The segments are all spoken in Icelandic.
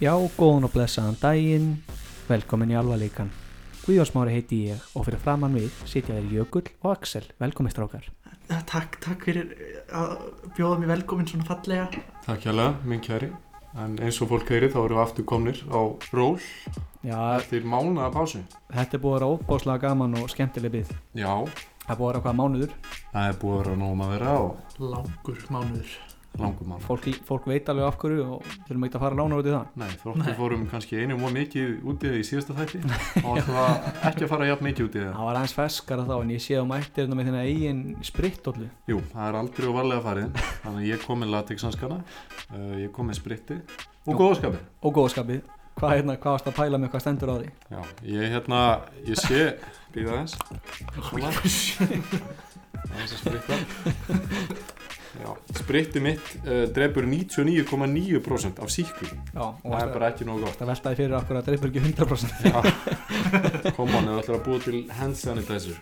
Já, góðan og blessaðan daginn, velkomin í alvarleikan. Guðjósmári heiti ég og fyrir framann við sitja þér Jökull og Axel, velkomin strákar. Ja, Takk, takk fyrir eh, að bjóða mér velkominn svona fallega. Takk hjálpa, minn kæri. En eins og fólk heyri þá erum við aftur komnir á ról Já, eftir mánuða básu. þetta er búið að vera óbáslega gaman og skemmtileg bið. Já, Það er búið að vera hvað mánuður, það er búið að vera nógum að vera og Langur mánuður. langum mánuð. fólk, fólk veit alveg af hverju og þurfum ekki að fara lána út í það. Nei, þróttu Nei. fórum kannski einum og mikið út í það í síðasta þætti og það var ekki að fara jafn mikið út í það. Það var aðeins feskara þá en ég séð um ættir með þína eigin sprittólu. Jú, það er aldrei og varlega farið, þannig að ég kom með latexhanskana, uh, ég kom með spritti Nú. og góðskapi. Og góðskapið, hvað, hérna, hvað varst að pæla með hvað stendur á því? Já, ég hérna, ég sé, býða eins, svona, aðeins að spritta. Já, spritti mitt uh, drefur 99,9% af síklu. Já, og Það er varst að, bara ekki nógu gott. varst að veltaði fyrir okkur að dreipur ekki 100%. Já, kom on, ef þú ætlar að búa til hand sanitizer.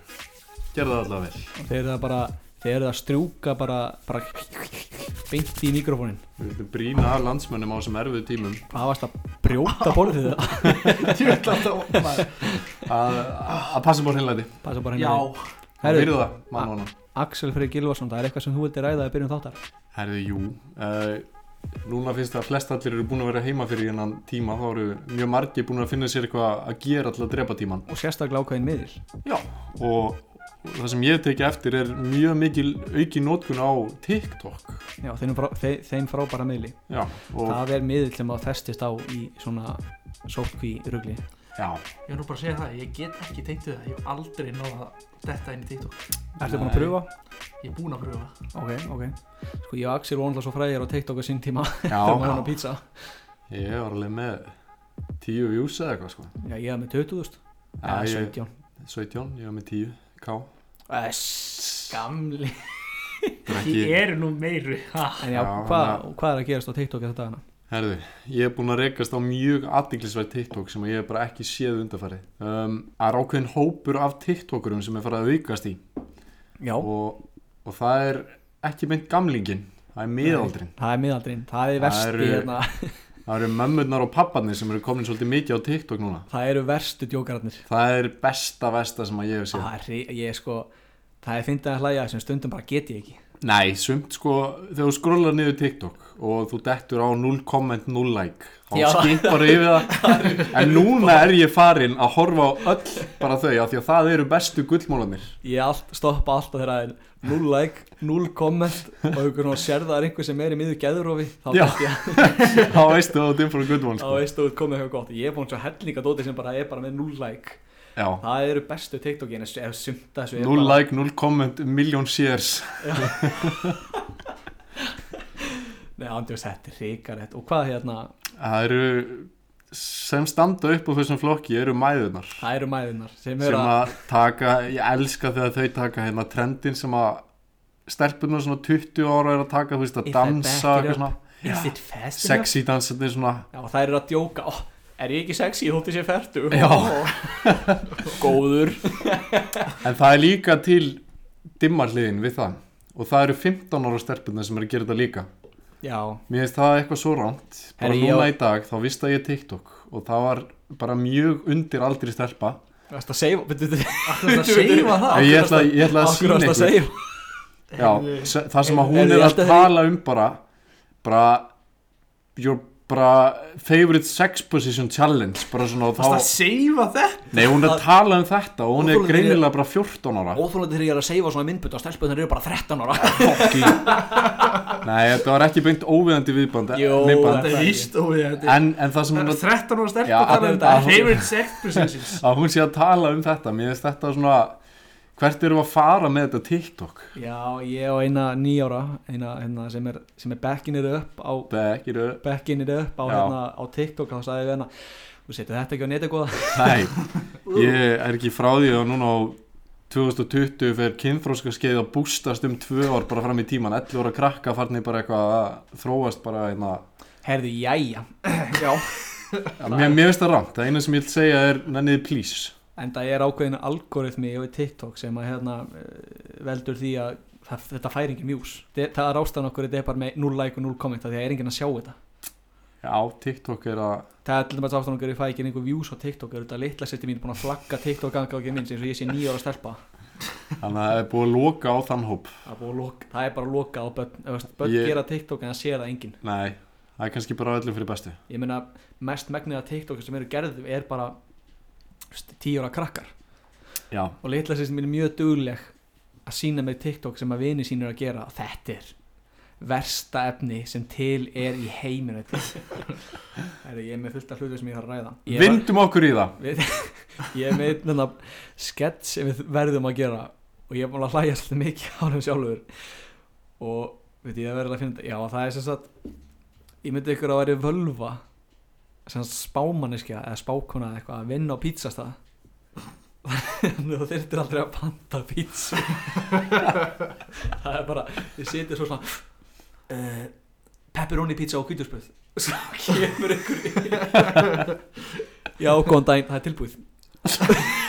Gerðu það allavega vel. Þeir eru það bara, þeir eru það að strjúka bara, bara beint í mikrofónin. Við vildum brína að landsmönnum á þessum erfiðu tímum Það varst að brjóta borðið það. Ég vil alltaf opna. að, að passa bór heimlæti. Passa bara Já, hérna. Herru. Herru, Virðu það, mann og annan. Axel Freyr Gilvarsson, það er eitthvað sem þú vildi ræða í byrjun þáttar. Herðu, jú. Uh, núna finnst það að flest allir eru búin að vera heima fyrir hennan tíma. Þá eru mjög margir búin að finna sér eitthvað að gera alltaf að drepa tíman. Og sérstaklega ákveðin miðil. Já. Og það sem ég tekja eftir er mjög mikil auki nótkun á TikTok. Já, þeim, frá, þeim, þeim frábæra miðli. Já. Og, Það er miðil sem það festist á í svona sótkví rugli. já. ég er nú bara að segja það, ég get ekki tengt við það. Ég hef aldrei náða þetta inn í TikTok. Ertu búin að Nei. pröfa? Ég er búinn að pröfa. Ok, ok. Sko, ég og Axel voru alltaf svo fræðir á TikTok að sinn tíma. þegar maður Já. hann á pizza. Ég var alveg með tíu views eða eitthvað sko. Já, ég hef með 20.000. Já, Eða ég- 17. 17, ég var með 10. K. Æss, gamli. Það er Ég ekki... eru nú meiri. Ha. En já, Já, hvað þannig hvað er að gerast á TikTok þetta hérna? dagana? Herðu, ég er búin að rekast á mjög aðdiklisverð TikTok sem ég hef bara ekki séð undarfæri. Um, það er ákveðin hópur af TikTokurum sem er farið að aukast í. Já. og, og það er ekki meint gamlingin það er miðaldrin, Það er miðaldrin, það er Það versti eru- hérna, það eru mömmurnar og papparnir sem eru komin svolítið mikið á TikTok núna það eru verstu djókararnir það er besta vesta sem að ég hef séð Það er, hri- ég sko, það er fyndið að hlæja sem stundum bara get ég ekki nei, sumt sko, þegar þú scrollar niður TikTok og þú dettur á 0.0 like Já. þá skipar yfir það en núna er ég farin að horfa á öll bara þau, af því að það eru bestu gullmólanir Ég allt, stoppa alltaf þegar það er 0 like, 0 comment og einhver svona sérðar einhver sem er í miður geðurofi þá Já. veit ég, þá veistu þú að þú er fyrir gullmón þá sko. veistu þú komið eitthvað gott Ég er búin svo hellinga dóti sem bara er bara með 0 like Já. Það eru bestu TikTokin, ef sumt af þessu er 0 bara- like, 0 comment, million shares Nei, andjóðs, þetta er ríkarett Og hvað hérna, Það eru sem standa upp á þessum flokki eru mæðunar það eru mæðunar sem sem eru að, að taka, ég elska þegar þau taka hérna trendin sem að stelpunar svona 20 ára er að taka þú veist að If I back dansa it eitthvað up. svona is it fast enough? sexy dansandi svona Já, og þær eru að djóka, ó, er ég ekki sexy, þótt ég sé ferdu Já. Góður en það er líka til dimmarliðin við það og það eru 15 ára stelpunar sem eru að gera þetta líka Já, mér finnst það eitthvað svo ránt bara Herri, ég núna á- í dag þá vist að ég TikTok og það var bara mjög undir aldri stelpa varst að segja, veitu, veitu, Alltaf að segja það. ég ætla, ég ætla að okkur sína varst að ykkur segja Já, Heyrðu, se- það sem að hún Heyrðu, er ég að held að tala um bara bara your bara favorite sex position challenge bara svona og Varst að þá segja þetta? nei hún er að tala um þetta og hún er Óþolandi greinilega bara 14 ára Óþólandi þegar ég er að segja svona myndbönd og stelpunar eru bara 13 ára nei þetta var ekki beint óviðandi viðband Jó, myndband. Þetta er víst og við þetta. en, en það sem hún er 13 ára stelp Já, og tala að- um að- favorite sex positions. að hún sé að tala um þetta mér finnst þetta svona hvert eru að fara með þetta TikTok Já, ég og eina nýjára eina, eina sem er, sem er backinir upp á Bekir, backinir upp á, Já. hérna, á TikTok þá sagði ég við hérna, þú setur þetta ekki á neti góða nei, ég er ekki frá því að núna á 2020 fer kynþróska skeið að bústast um tvö ár bara fram í tíman 11 ára krakka farnir bara eitthvað að þróast bara hérna. einna Herðu, jæja Já, mér, mér finnst það rangt, það eina sem ég vil segja er nenniði please en það er ákveðin algoritmi á TikTok sem að hérna eh, veldur því að það, þetta fær engin views Þe- það er ástæðan okkur þetta er bara með 0 like og 0 comment af því að það er engin að sjá þetta Já, TikTok er að Það er til dæmis aftur okkar ég fæ ekki einhver views á TikTok er þetta litla sýtti mín búin að flagga TikTok gangið minn eins og ég sé nýja ára stelpa Þannig að það er búið að loka á þann hóp það er, búið að loka, það er bara að loka á börn eða, þú veist, börn Ég- gera TikTok en það sér það engin Nei, það er kannski bara öllum fyrir bestu ég meina mest megnið af TikTok sem eru gerð er bara þú veist, tíu ára krakkar Já, og litla sýtti mín er mjög dugleg að sína mér TikTok sem að vini sínur að gera þetta er versta efni sem til er í heiminu Heru, ég er með fullt af hlutu sem ég þarf að ræða Ég var- vindum okkur í það við, ég er með einn hérna skett sem við verðum að gera og ég er búin að hlæja svolítið mikið á hann sjálfur og veit ég að verða að finna þetta já það er sem sagt ég myndi ykkur að væri völva sem sagt spámanniska eða spákona eða eitthvað að vinna á pítsastað þannig að þú þyrtir aldrei að panta pítsu það er bara ég seti svo svona uh, pepperoni pizza og kvíturspöð svo kemur ykkur í já góðan daginn það er tilbúið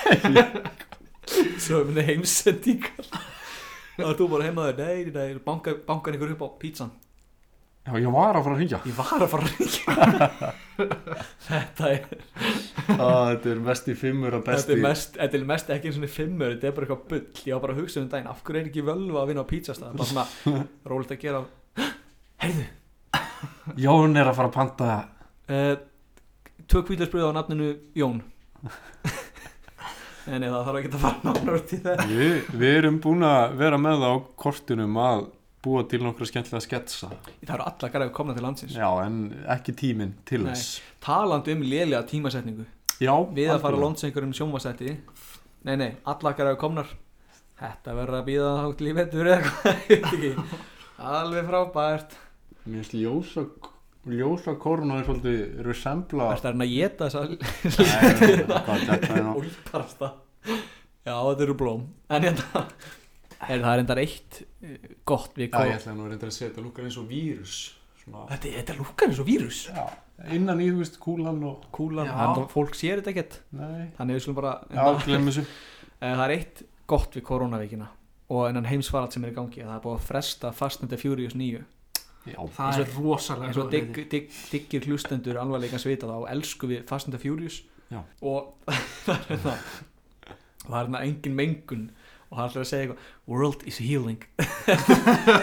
svo er minni heimsendingar þá er þú bara heimaður nei, nei, nei banka, bankan ykkur upp á pítsan Já, ég var að fara að hringja ég var að fara að ringja þetta er Þetta er mest í fimmur og Þetta er, mest, þetta er mest ekki eins og fimmur, þetta er bara eitthvað bull, ég var bara að hugsa um daginn, af hverju er ekki völva að vinna á pítsastað, bara svona rólegt að gera, heyrðu, Jón er að fara að panta uh, tvö kvíðlarsbröð á nafninu Jón. nei, nei, það þarf ekki að fara nánar út í það. Við, við erum búin að vera með það á kortunum að búa til nokkra skemmtilega sketsa Það eru alla gæraðu komna til landsins. Já, en ekki tíminn til Nei. þess Talandi um lélega tímasetningu, Já, við að fara algjörlega. að lónsa einhverjum sjónvasetti, nei, nei, alla gæraðu komnar, þetta verður að býða þá til í vetur eða hvað, ég veit ekki, alveg frábært. Mér finnst ljósa, ljósa koruna er svolítið resembla Ertu að reyna að geta þessa Nei, hvað þetta er nú? Úlparasta Já, þetta eru blóm En hérna er það er endar eitt eh, gott við Já, kom ég ætla nú að reynda að setja lúkar eins og vírus svona. Þetta, þetta lúkar eins og vírus Já, innan í, þú veist, kúlan og Kúlan, Já. þannig að fólk sér þetta ekkert Nei, Þannig við skulum bara já, glemmi þessu Eh, Það er eitt gott við koronavíkina og enn heimsfarald sem er í gangi það er búið að fresta fastnandi Furious 9 Já, Það Eins er rosalega eins og góð digg, hugmynd. digg, diggir hlustendur alvarleikan svita þá elsku við Fast and the Furious Já. og það er hérna það er hérna engin mengun og hann ætlar að segja eitthvað world is healing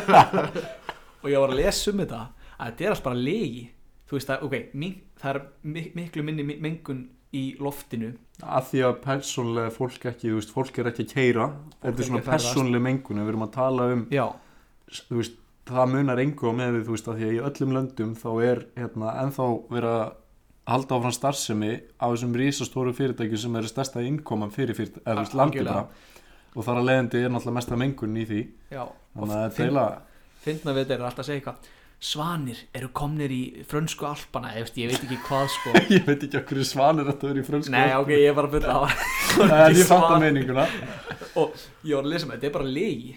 og ég var að lesa um þetta að þetta er allt bara legi þú veist að, ok, mink, það er mik miklu minni mi- mengun í loftinu að því að persónlega fólk ekki, þú veist, fólk er ekki að keira Fólk er Þetta er ekki svona að ferðast. persónlega mengun, við erum að tala um, já, þú veist, það munar engu á með við, þú veist, að því að í öllum löndum þá er, hérna, ennþá vera halda áfram starfsemi á þessum risastóru fyrirtækjum sem eru stærsta innkoman fyrir fyrir, eða þú veist, landi Algjörlega. bara og þar að leiðandi er náttúrulega mesta mengun í því já þannig að finn- deila fyndna við þetta er alltaf að segja eitthvað svanir eru komnir í frönsku alpana ég veist, ég veit ekki hvað sko ég veit ekki okkur svanir þetta er í frönsku Nei, ok, ég er bara að byrja á en ekki ég fatt svan. að meininguna Ég var að lesa með, þetta er bara legi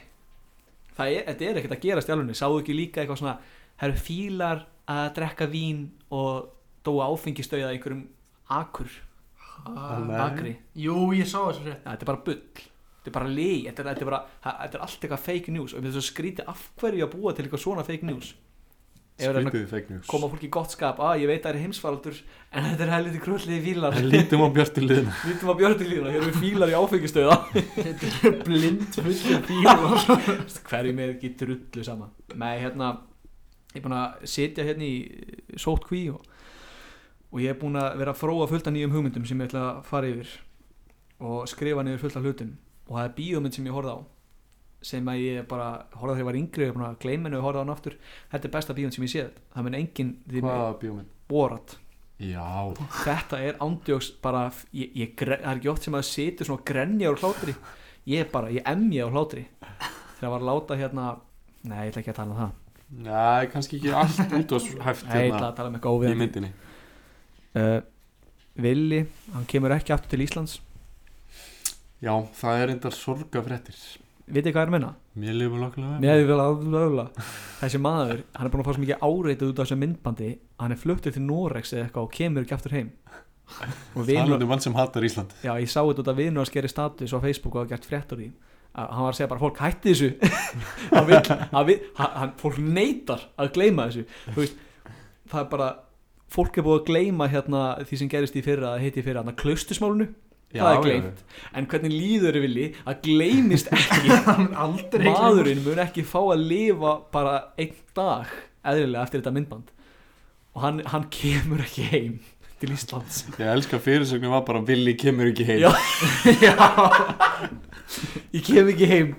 Það er, þetta er ekkert að gerast í alveg Sáðu ekki líka eitthvað svona Það eru fílar að drekka vín og dóa áfengistauða í einhverjum akur, Nei. akri Jú, ég sá þessu rétt ja, Þetta er bara bull, þetta er bara legi Þetta er, þetta er, bara, það- þetta er allt eitthvað fake news og við þessum skríti af hverju að búa til eitthvað svona fake news Ef það er að skrítið fake news koma fólki í gott skap að ég veit að það er heimsfaraldur en þetta er helviti kröllið fílar En lítum á björtiliðin lítum að björnilíðuna, hér eru fílar í áfengistöða Þetta er blind fullir bílar hverjum er ekki drullu sama með hérna ég er búin að setja hérna í sótt kví og, og ég er búin að vera að fróa fullt af nýjum hugmyndum sem ég ætla að fara yfir og skrifa niður fullt af hlutum og það er bíómynd sem ég horfði á sem að ég bara horfði á þegar ég var yngri og ég er búin að gleyma henni og horfði á hann aftur þetta er besta bíómynd sem ég séð það mun enginn því með hvaða bjóminn borat já þetta er ándjóks bara ég, ég, gre- það er ekki oft sem að setja svona og grenja úr hlátri ég bara, ég emja úr hlátri þegar var að láta hérna nei, ég ætla ekki að tala um það Nei, kannski ekki allt út og hæft nei, ég ætla hérna að tala um eitthvað í óviðandi myndinni uh, Willi, hann kemur ekki aftur til Íslands já, það er reyndar sorgafréttir vitið hvað er að menna? mér lifur lokkulega Mér hefði vel að lögla þessi maður, hann er búin að fá svo mikið áreitað út af þessu myndbandi hann er fluttur til Norex eða eitthvað og kemur ekki aftur heim og vinur, Talandi um mann sem hatar Ísland já, ég sá þetta út af vinur að skeri status á Facebook og hafa gert frétt úr því að hann var að segja bara fólk hætti þessu hann vil, hann vil, hann, hann, fólk neytar að gleyma þessu þú veist, það er bara fólk er búið að gleyma hérna því sem gerist í fyrra að heiti í fyrra hérna klaustusmálunu það er gleymt en hvernig líður er villi að gleymist ekki Hann aldrei maðurinn mun ekki fá að lifa bara einn dag eðlilega eftir þetta myndband og hann, hann kemur ekki heim til Íslands Ég elska fyrirsögnum var bara Willi kemur ekki heim Já. Já, ég kem ekki heim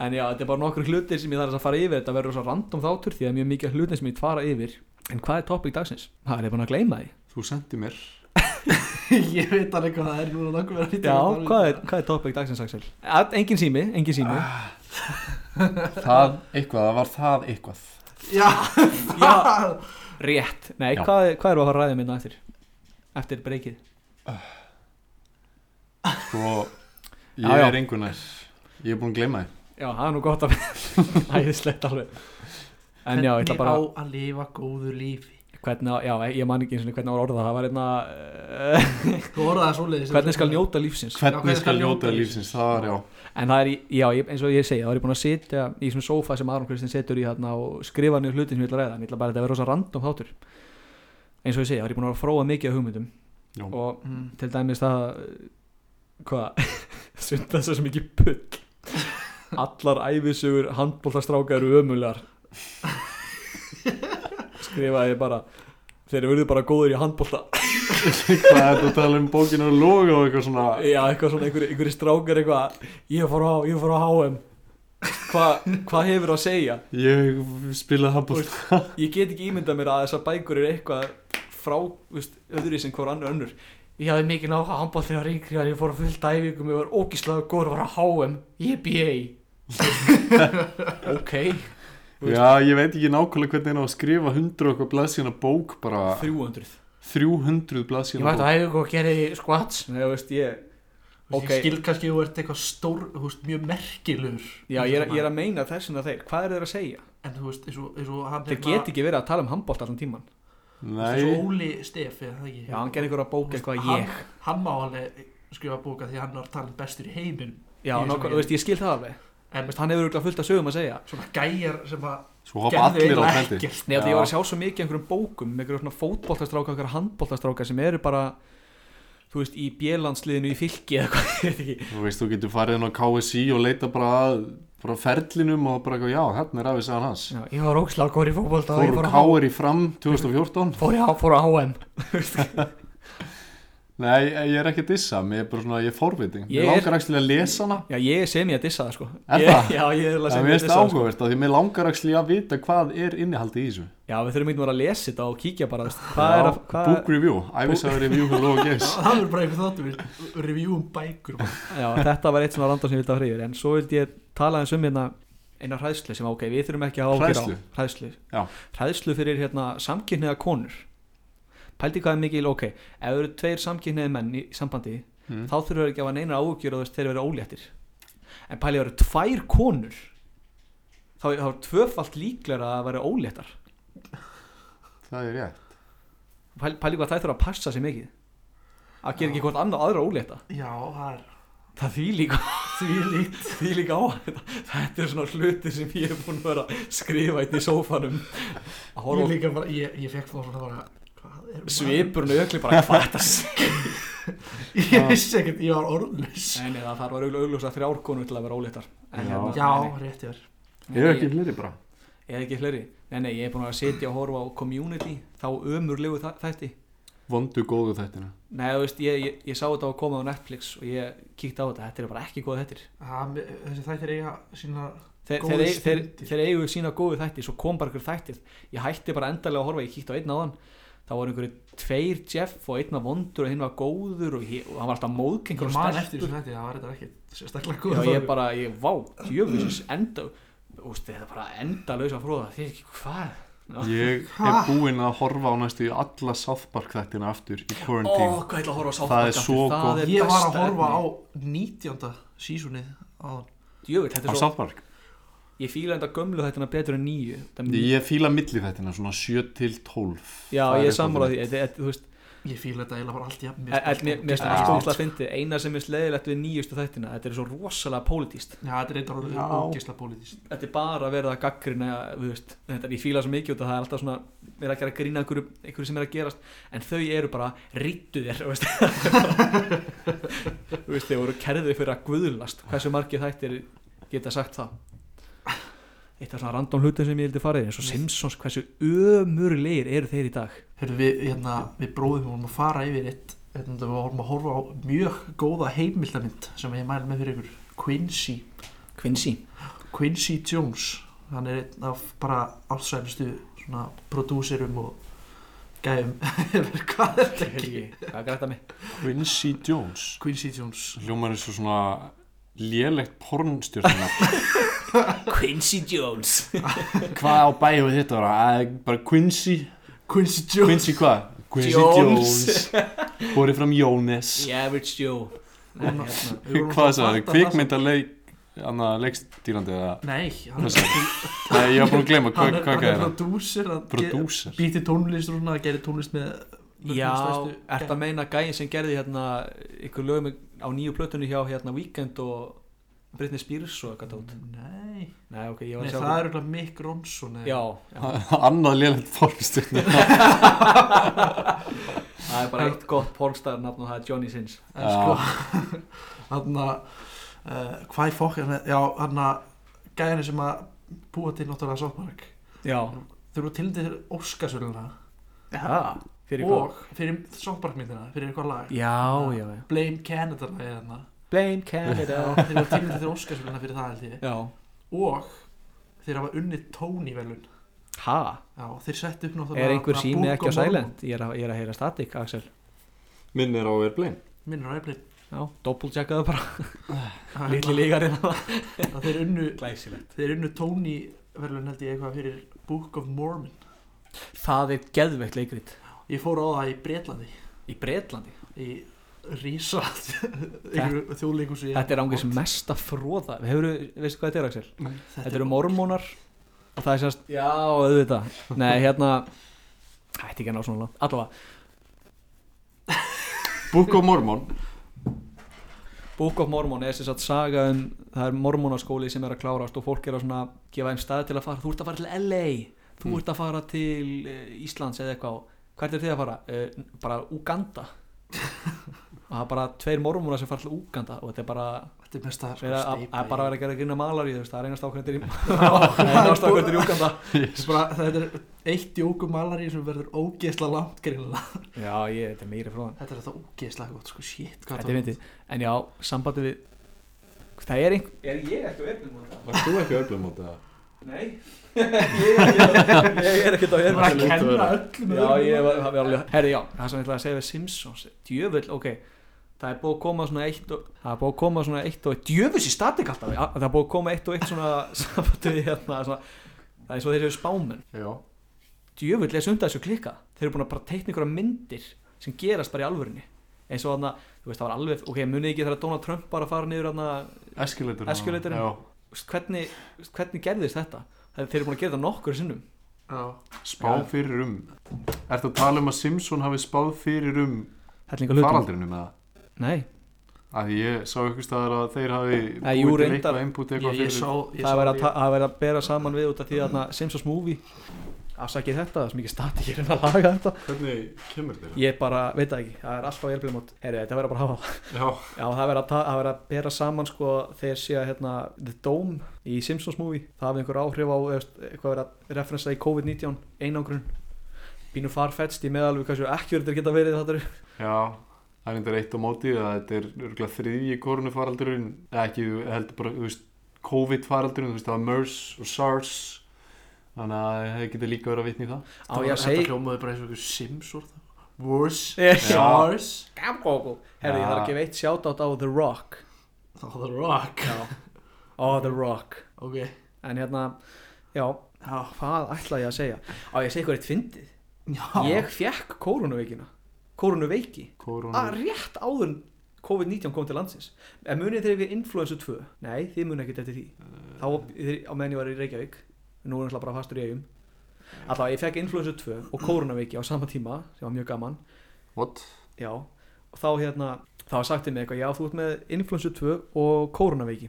en já, þetta er bara nokkur hlutir sem ég þarf að fara yfir þetta verður svo random þáttur því að mjög mikið af hlutir sem ég fara yfir en hvað er topic dagsins? það er ég búin að gleyma því Þú sendi mér ég veit alveg hvað það er núna nokkuð verið að já, hvað er, hvað er topic dagsins Axel? Ah. Að- engin sími, engin sími Það eitthvað, það var það eitthvað Já, já, rétt nei, Já. hvað, er- hvað er að fara að ræða minna eftir? eftir breykið Sko, ég Já, já. er engu nær Ég er búin að gleyma þið já, það er nú gott að æðislegt alveg en já, ég ætla bara Hvernig á að lifa góðu lífi hvernig, á- já, ég man ekki eins og hvernig á að orða það það var einna uh, Þú orðaði það svoleiðis hvernig skal njóta lífsins Hvernig skal njóta lífsins, það var já En það er, í- já, ég- eins og ég segi, þá er ég búinn að sitja í svona sófa sem Aron Kristinn setur í hérna og skrifa niður hlutin sem ég ætla að ræða, en ég ætla bara að þetta verður rosa random þáttur. Eins og ég segi, þá er ég búinn að fróa mikið af hugmyndum Já. og Mm. til dæmis það, eh, hvað, sunda þess að mikið pull. Allar æfisugur handbóltastráka eru ömulegar. Skrifaði ég bara, þeir eru verið bara góður í handbólta. Hvað er þetta að tala um bókinu og loga og eitthvað svona Já, eitthvað svona, einhverju einhver strákar eitthvað Ég fór á, ég fór á HM Hvað hva hefur að segja? Ég spilaði handbólt Ég get ekki ímyndað mér að þessar bækur eru eitthvað frá, veist, öðru sem hver annar önnur Ég hafði mikið náha handbóð þegar yngri var ég fór að fullta æfingum, ég var ógíslaður góður var á HM, ég BA Ok, Já, ég veit ekki nákvæmlega hvernig er að skrifa 100 og eitthvað blaðsíðana bók bara 300 300 blaðsíðana bók æfingu og gerði squats Nei, þú veist, ég Ok Ok. Ég skil kannski að þú ert eitthvað stór, þú veist, mjög merkilur Já, ég er, ég er að meina þessum að þeir, hvað eru þeir að segja? En þú veist, eins og, eins og hann hérna- Þeir get ekki verið að tala um handbólt allan tíman Eins og Nei, Óli Stef, eða það ekki Já, hann gerði einhverja bók eitthvað Hann- ég Hann má alveg skrifa bóka því að hann var talin bestur í heiminum Já, Í þessum nokkuð, vélum. þú veist, ég skil það alveg Þú En veist, hann hefur auðvitað fullt af sögum að segja svona gæjar sem að svo hafa allir á eiginlega trendi ekkert Nei, af því Já. ég var að sjá svo mikið af einhverjum bókum með einhverjum svona fótboltastráka, einhverjum handboltastráka sem eru bara, þú veist, í bjelandsliðinu í fylki eða hvað, ég veit ekki Þú veist, þú getur farið inn á KSI og leita bara að bara ferlinum og bara eitthvað, já, hérna er afið sæðan hans Já, ég var ógslag góður í fótbolta og ég fór Fóru á, káir í fram 2014 fór, á, fór á HM Nei, ég er ekki að dissa, mér er bara svona, ég er forviting Ég er- Mér langar ekki að lesa hana Já, ég er sem ég að dissa það, sko Er ég, það? Já, ég er alveg Það sem mér ég að finnst dissa það það, sko áhugavert, af því mér langar ekki að vita hvað er innihaldið í þessu Já, við þurfum eitthvað að lesa þetta og kíkja bara, þú veist, hvað er að, Já, hvað Book review, æfisaður review og logo Já, games Það er bara eitthvað þáttum við reviewum bækur Já, þetta var eitt svona random sem ég vildi að hreyfir En svo vildi ég tala eins um hérna eina hræðslu sem ok, við þurfum ekki að hafa áhyggjur á Hræðslu? Hræðslu Já. Hræðslu fyrir hérna samkynniða konur Pældi hvað er mikil, ok Ef þau eru tveir samkynniði menn í sambandi Mm. Þá þurfum við ekki að hafa neinar áhugjur og þess þeir eru óléttir En pældi það eru tvær konur Þá þá er tvöfalt líklar að vera óléttar Það er rétt Pæl- Pældi hvað þær þurfa að passa sig mikið Að gera ekki hvort annað aðra ólétta Já, það er Það því líka því líkt Því líka á þetta Þetta er svona hluti sem ég er búin að vera að skrifa eitt í sófanum Að Ég horfa á líka bara, ég, ég fekk þá svona bara Hvað er maður? svipurinn aukli bara hvað þetta sé Ég vissi ekkert, ég var orðlaus Nei, nei, það þarf að vera augljósa þrjár konur til að vera óléttar En Já. hérna, Já, nei, rétt ég er nei, Ég er ég- ekki fleiri bara Ég er ekki fleiri Nei, nei, ég er búin að setja og horfa á community Þá ömurlegu þa- þætti Vondu góðu þættina Nei, þú veist, ég, ég, ég sá þetta að koma á Netflix Og ég kíkti á þetta, þetta er bara ekki góð þættir Ha, me- Þessi þættir eiga sína Þeir, Góðir þeir, eig- þeir, stundir. þeir eigu sína góðu þætti svo kom bara einhver þættir ég hætti bara endalega að horfa, ég kíkti á einn áðan þá voru einhverju tveir Jeff og einn var vondur og hinn var góður og, ég, og hann var alltaf móðkengur Ég og man eftir stelpur þessu þætti, það var þetta ekkert sérstaklega Já, góð ég bara, ég, vá, djöfus enda, úst, þetta er bara endalaus að fróða, þið er ekki hvað Ég er Ha? búinn að horfa á næstu í alla South Park þættina aftur í Ó, quarantine hvað ætla að horfa á South Það Park er aftur? svo gott. það er Ég var að besta horfa á efni. 19. sísunið á Djöfull, þetta Á er svo, South Park ég fíla enda gömlu þættina betur en nýju Það er mjög- Ég fíla milli þættina, svona 7 til 12 Já, Það ég er eitthvað sammála fyrir því, þetta er- þú veist Ég fíla þetta eiginlega bara allt jafn Mér finnst mér finnst Já. það stóðslega að fyndi Eina sem er sleðilegt við nýjustu þættina Þetta er svo rosalega pólitíst Já, þetta er eitthvað alveg Já. ógisla pólitískt Þetta er bara að verða að gaggrina Þetta er í fíla svo mikið út að það er alltaf svona er að gera grína einhverju, einhverju sem er að gerast en þau eru bara rýttu þér þú veist þú veist þeir voru kerðið fyrir að guðlast hversu margir þættir geta sagt það eitt af svona random hlutum sem ég heldur farið eins og Simpsons hversu ömurlegir eru þeir í dag Hörru, við, hérna, við bróðum vorum að fara yfir eitt hérna, við vorum að horfa á mjög góða heimildamind sem ég mæli með fyrir ykkur Quincy, Quincy Quincy Jones hann er einn af bara allsælustu svona prodúserum og gæfum yfir hvað er þetta ekki hvað er græta mig Quincy Jones Quincy Jones Hljómar eins og svona lélegt pornstjórnar Quincy Jones Hvað á bæju við þetta var? Bara Quincy Quincy Jones Quincy hvað? Quincy Jones. Jones Borið fram Jónes The Average Joe Nei, Hún- hérna. Við vorum Hvað að sagði fatta það? það Kvikmyndaleik Anna leikstýrandi eða sem- Nei, hann Hvað sagði Nei, ég var búin að gleyma hann Hvað er, hvað hann er gæði það? prodúser hann ge- Prodúser býtir tónlist og svona, gerir tónlist með með Já, stærstu- ert að meina gæin sem gerði hérna ykkur lögum á nýju plötunni hjá hérna Weekend og Britney Spears og eitthvað tótt Nei, Mm. Nei, ok, ég var að Nei sjá það er auðvitað Mick Ronson eða- Já, já. Annað lélegt pornstjórnar það er bara eitt gott pornstar nafn og það er Johnny Sins En sko Þannig að uh, Hvað í fokk hann Já, hann að Gæðinu sem að búa til náttúrulega sáttmark Já, Þau eru tilnættið fyrir Óskarsvöluna já, fyrir hvað? Og fyrir sáttmarkmyndina Fyrir eitthvað lag Já, já, já Blame Canada lagið hann Blame Canada Þeir eru tilnættið fyrir Óskarsvöluna fyrir það held Já, ég Og þeir hafa unnið Tony velun ha, Já, þeir settu upp náttúrulega er einhver bara sími Book ekki of á Mormon. Silent? Ég er að, ég er að heyra statik, Axel Minn er á Airplane Minnur á eflin Já, doppeltjekkaðu bara, litli lígarinn Þeir unnu Glæsilegt Þeir unnu Tony velun held ég eitthvað fyrir Book of Mormon Það er geðveikt leikrit Ég fór á það í Bretlandi Í Bretlandi í Rísa þjóðleikus Þetta er ángið sem mesta fróða Hefur, veistu hvað þetta er Axel? Þetta eru mor mormónar Og það er sérst Já, auðvitað Nei, hérna Ætti ekki að ná svona langt Allavega Book of Mormon Book of Mormon er sérst saga um Það er mormónaskóli sem er að klárast Og fólk er að svona Gefa þeim stað til að fara Þú ert að fara til LA Þú Mm. ert að fara til uh, Íslands eða eitthvað Hvert er þið að fara? Uh, bara Uganda Og það er bara tveir mormónar sem fara til Uganda Og þetta er bara Þetta er mest að Það er að- steypa að í- bara vera að gera grína malari þú veist, það er einast ákvæmdir í það er einast ákvæmdir í Úganda Þetta er bara- Þetta er eitt jókumalari sem verður ógeðsla langt grilla já, ég, þetta er meiri fróðan Þetta er þetta ógeðsla gott sko, shit hvað þetta er myndið, en já, sambandi við það er einhver er ég ekki á erfnum Varst þú ekki á Airplane móta það? nei ég er ekki á Það er að erfnum kenna öllum já, öðrum. ég var það var alveg herri, já, það sem ég ætlaði að segja við Simpsons djöfull, ok það er búið að koma svona eitt og það er búið að koma svona eitt og djöfull í statik alltaf já, það er búið að koma eitt og eitt svona sambandi við hérna svona, það er svo þeir eru spámen Já djöfull er sundað þessu klika þeir eru búin að bara teikna ykkur myndir sem gerast bara í alvörinni eins og þarna, þú veist það var alveg ok, munið ekki þegar Donald Trump bara fara niður þarna, Escalator Escalatorinn. Já þú veist, hvernig, þú veist, hvernig gerðist þetta þeir, þeir eru búin að gera þetta nokkur sinnum Já. Spá Já. fyrir um Ertu að tala um að Simpson hafi spáð fyrir um hellinga hlutum faraldrinum eða? Nei, Að ég sá ykkur staðar að þeir hafi Nei, jú, til reyndar. eitthvað input Ég, eitthvað ég sá fyrir ég það sá er verið að, því- ta- það er verið að bera saman við út af því að þarna Simpsons Movie afsakið þetta, það er svo mikið stati hér en að laga þetta Hvernig kemur þeir? ég bara, veit það ekki, það er alltaf hjálpilum átt herri, þetta verður bara að hafa Já Já, það verður að, ta- það verður að bera saman sko þegar sé að hérna The Dome í Simpsons movie, það hafði einhver áhrif á þú veist, eitthvað verið að referensa í COVID-19 einangrun, bínu farfetst í meðal við kannski ekki verður geta verið þetta eru Já, það er eindir eitt á móti að þetta er örgulega þriðji koronafaraldurinn eða ekki, ég heldur bara, þú veist COVID-faraldurinn, þú veist, það var MERS og SARS þannig að það hefði getið líka verið að vitni í það á ég að Þetta segja hljómaði bara eins og einhver Sims orð Wars Já. Sars Herri, ég þarf að gefa eitt sjátátt á The Rock Þá The Rock Já, á The Rock Ok en hérna, já, Já. hvað ætla ég að segja á ég að segja eitthvað eitt fyndið Já. ég fekk koronaveikina koronaveiki Korona, að Ah, rétt áður en COVID-19 kom til landsins en munið þeir við influensu 2 nei, þið munið ekkert eftir því þá þeir, á meðan ég var í Reykjavík nú er náttúrulega bara fastur í eigum alltaf ég fekk influensu 2 og koronaveiki á sama tíma sem var mjög gaman what? já, og þá hérna þá var sagt um mig eitthvað, já þú ert með influensu 2 og koronaveiki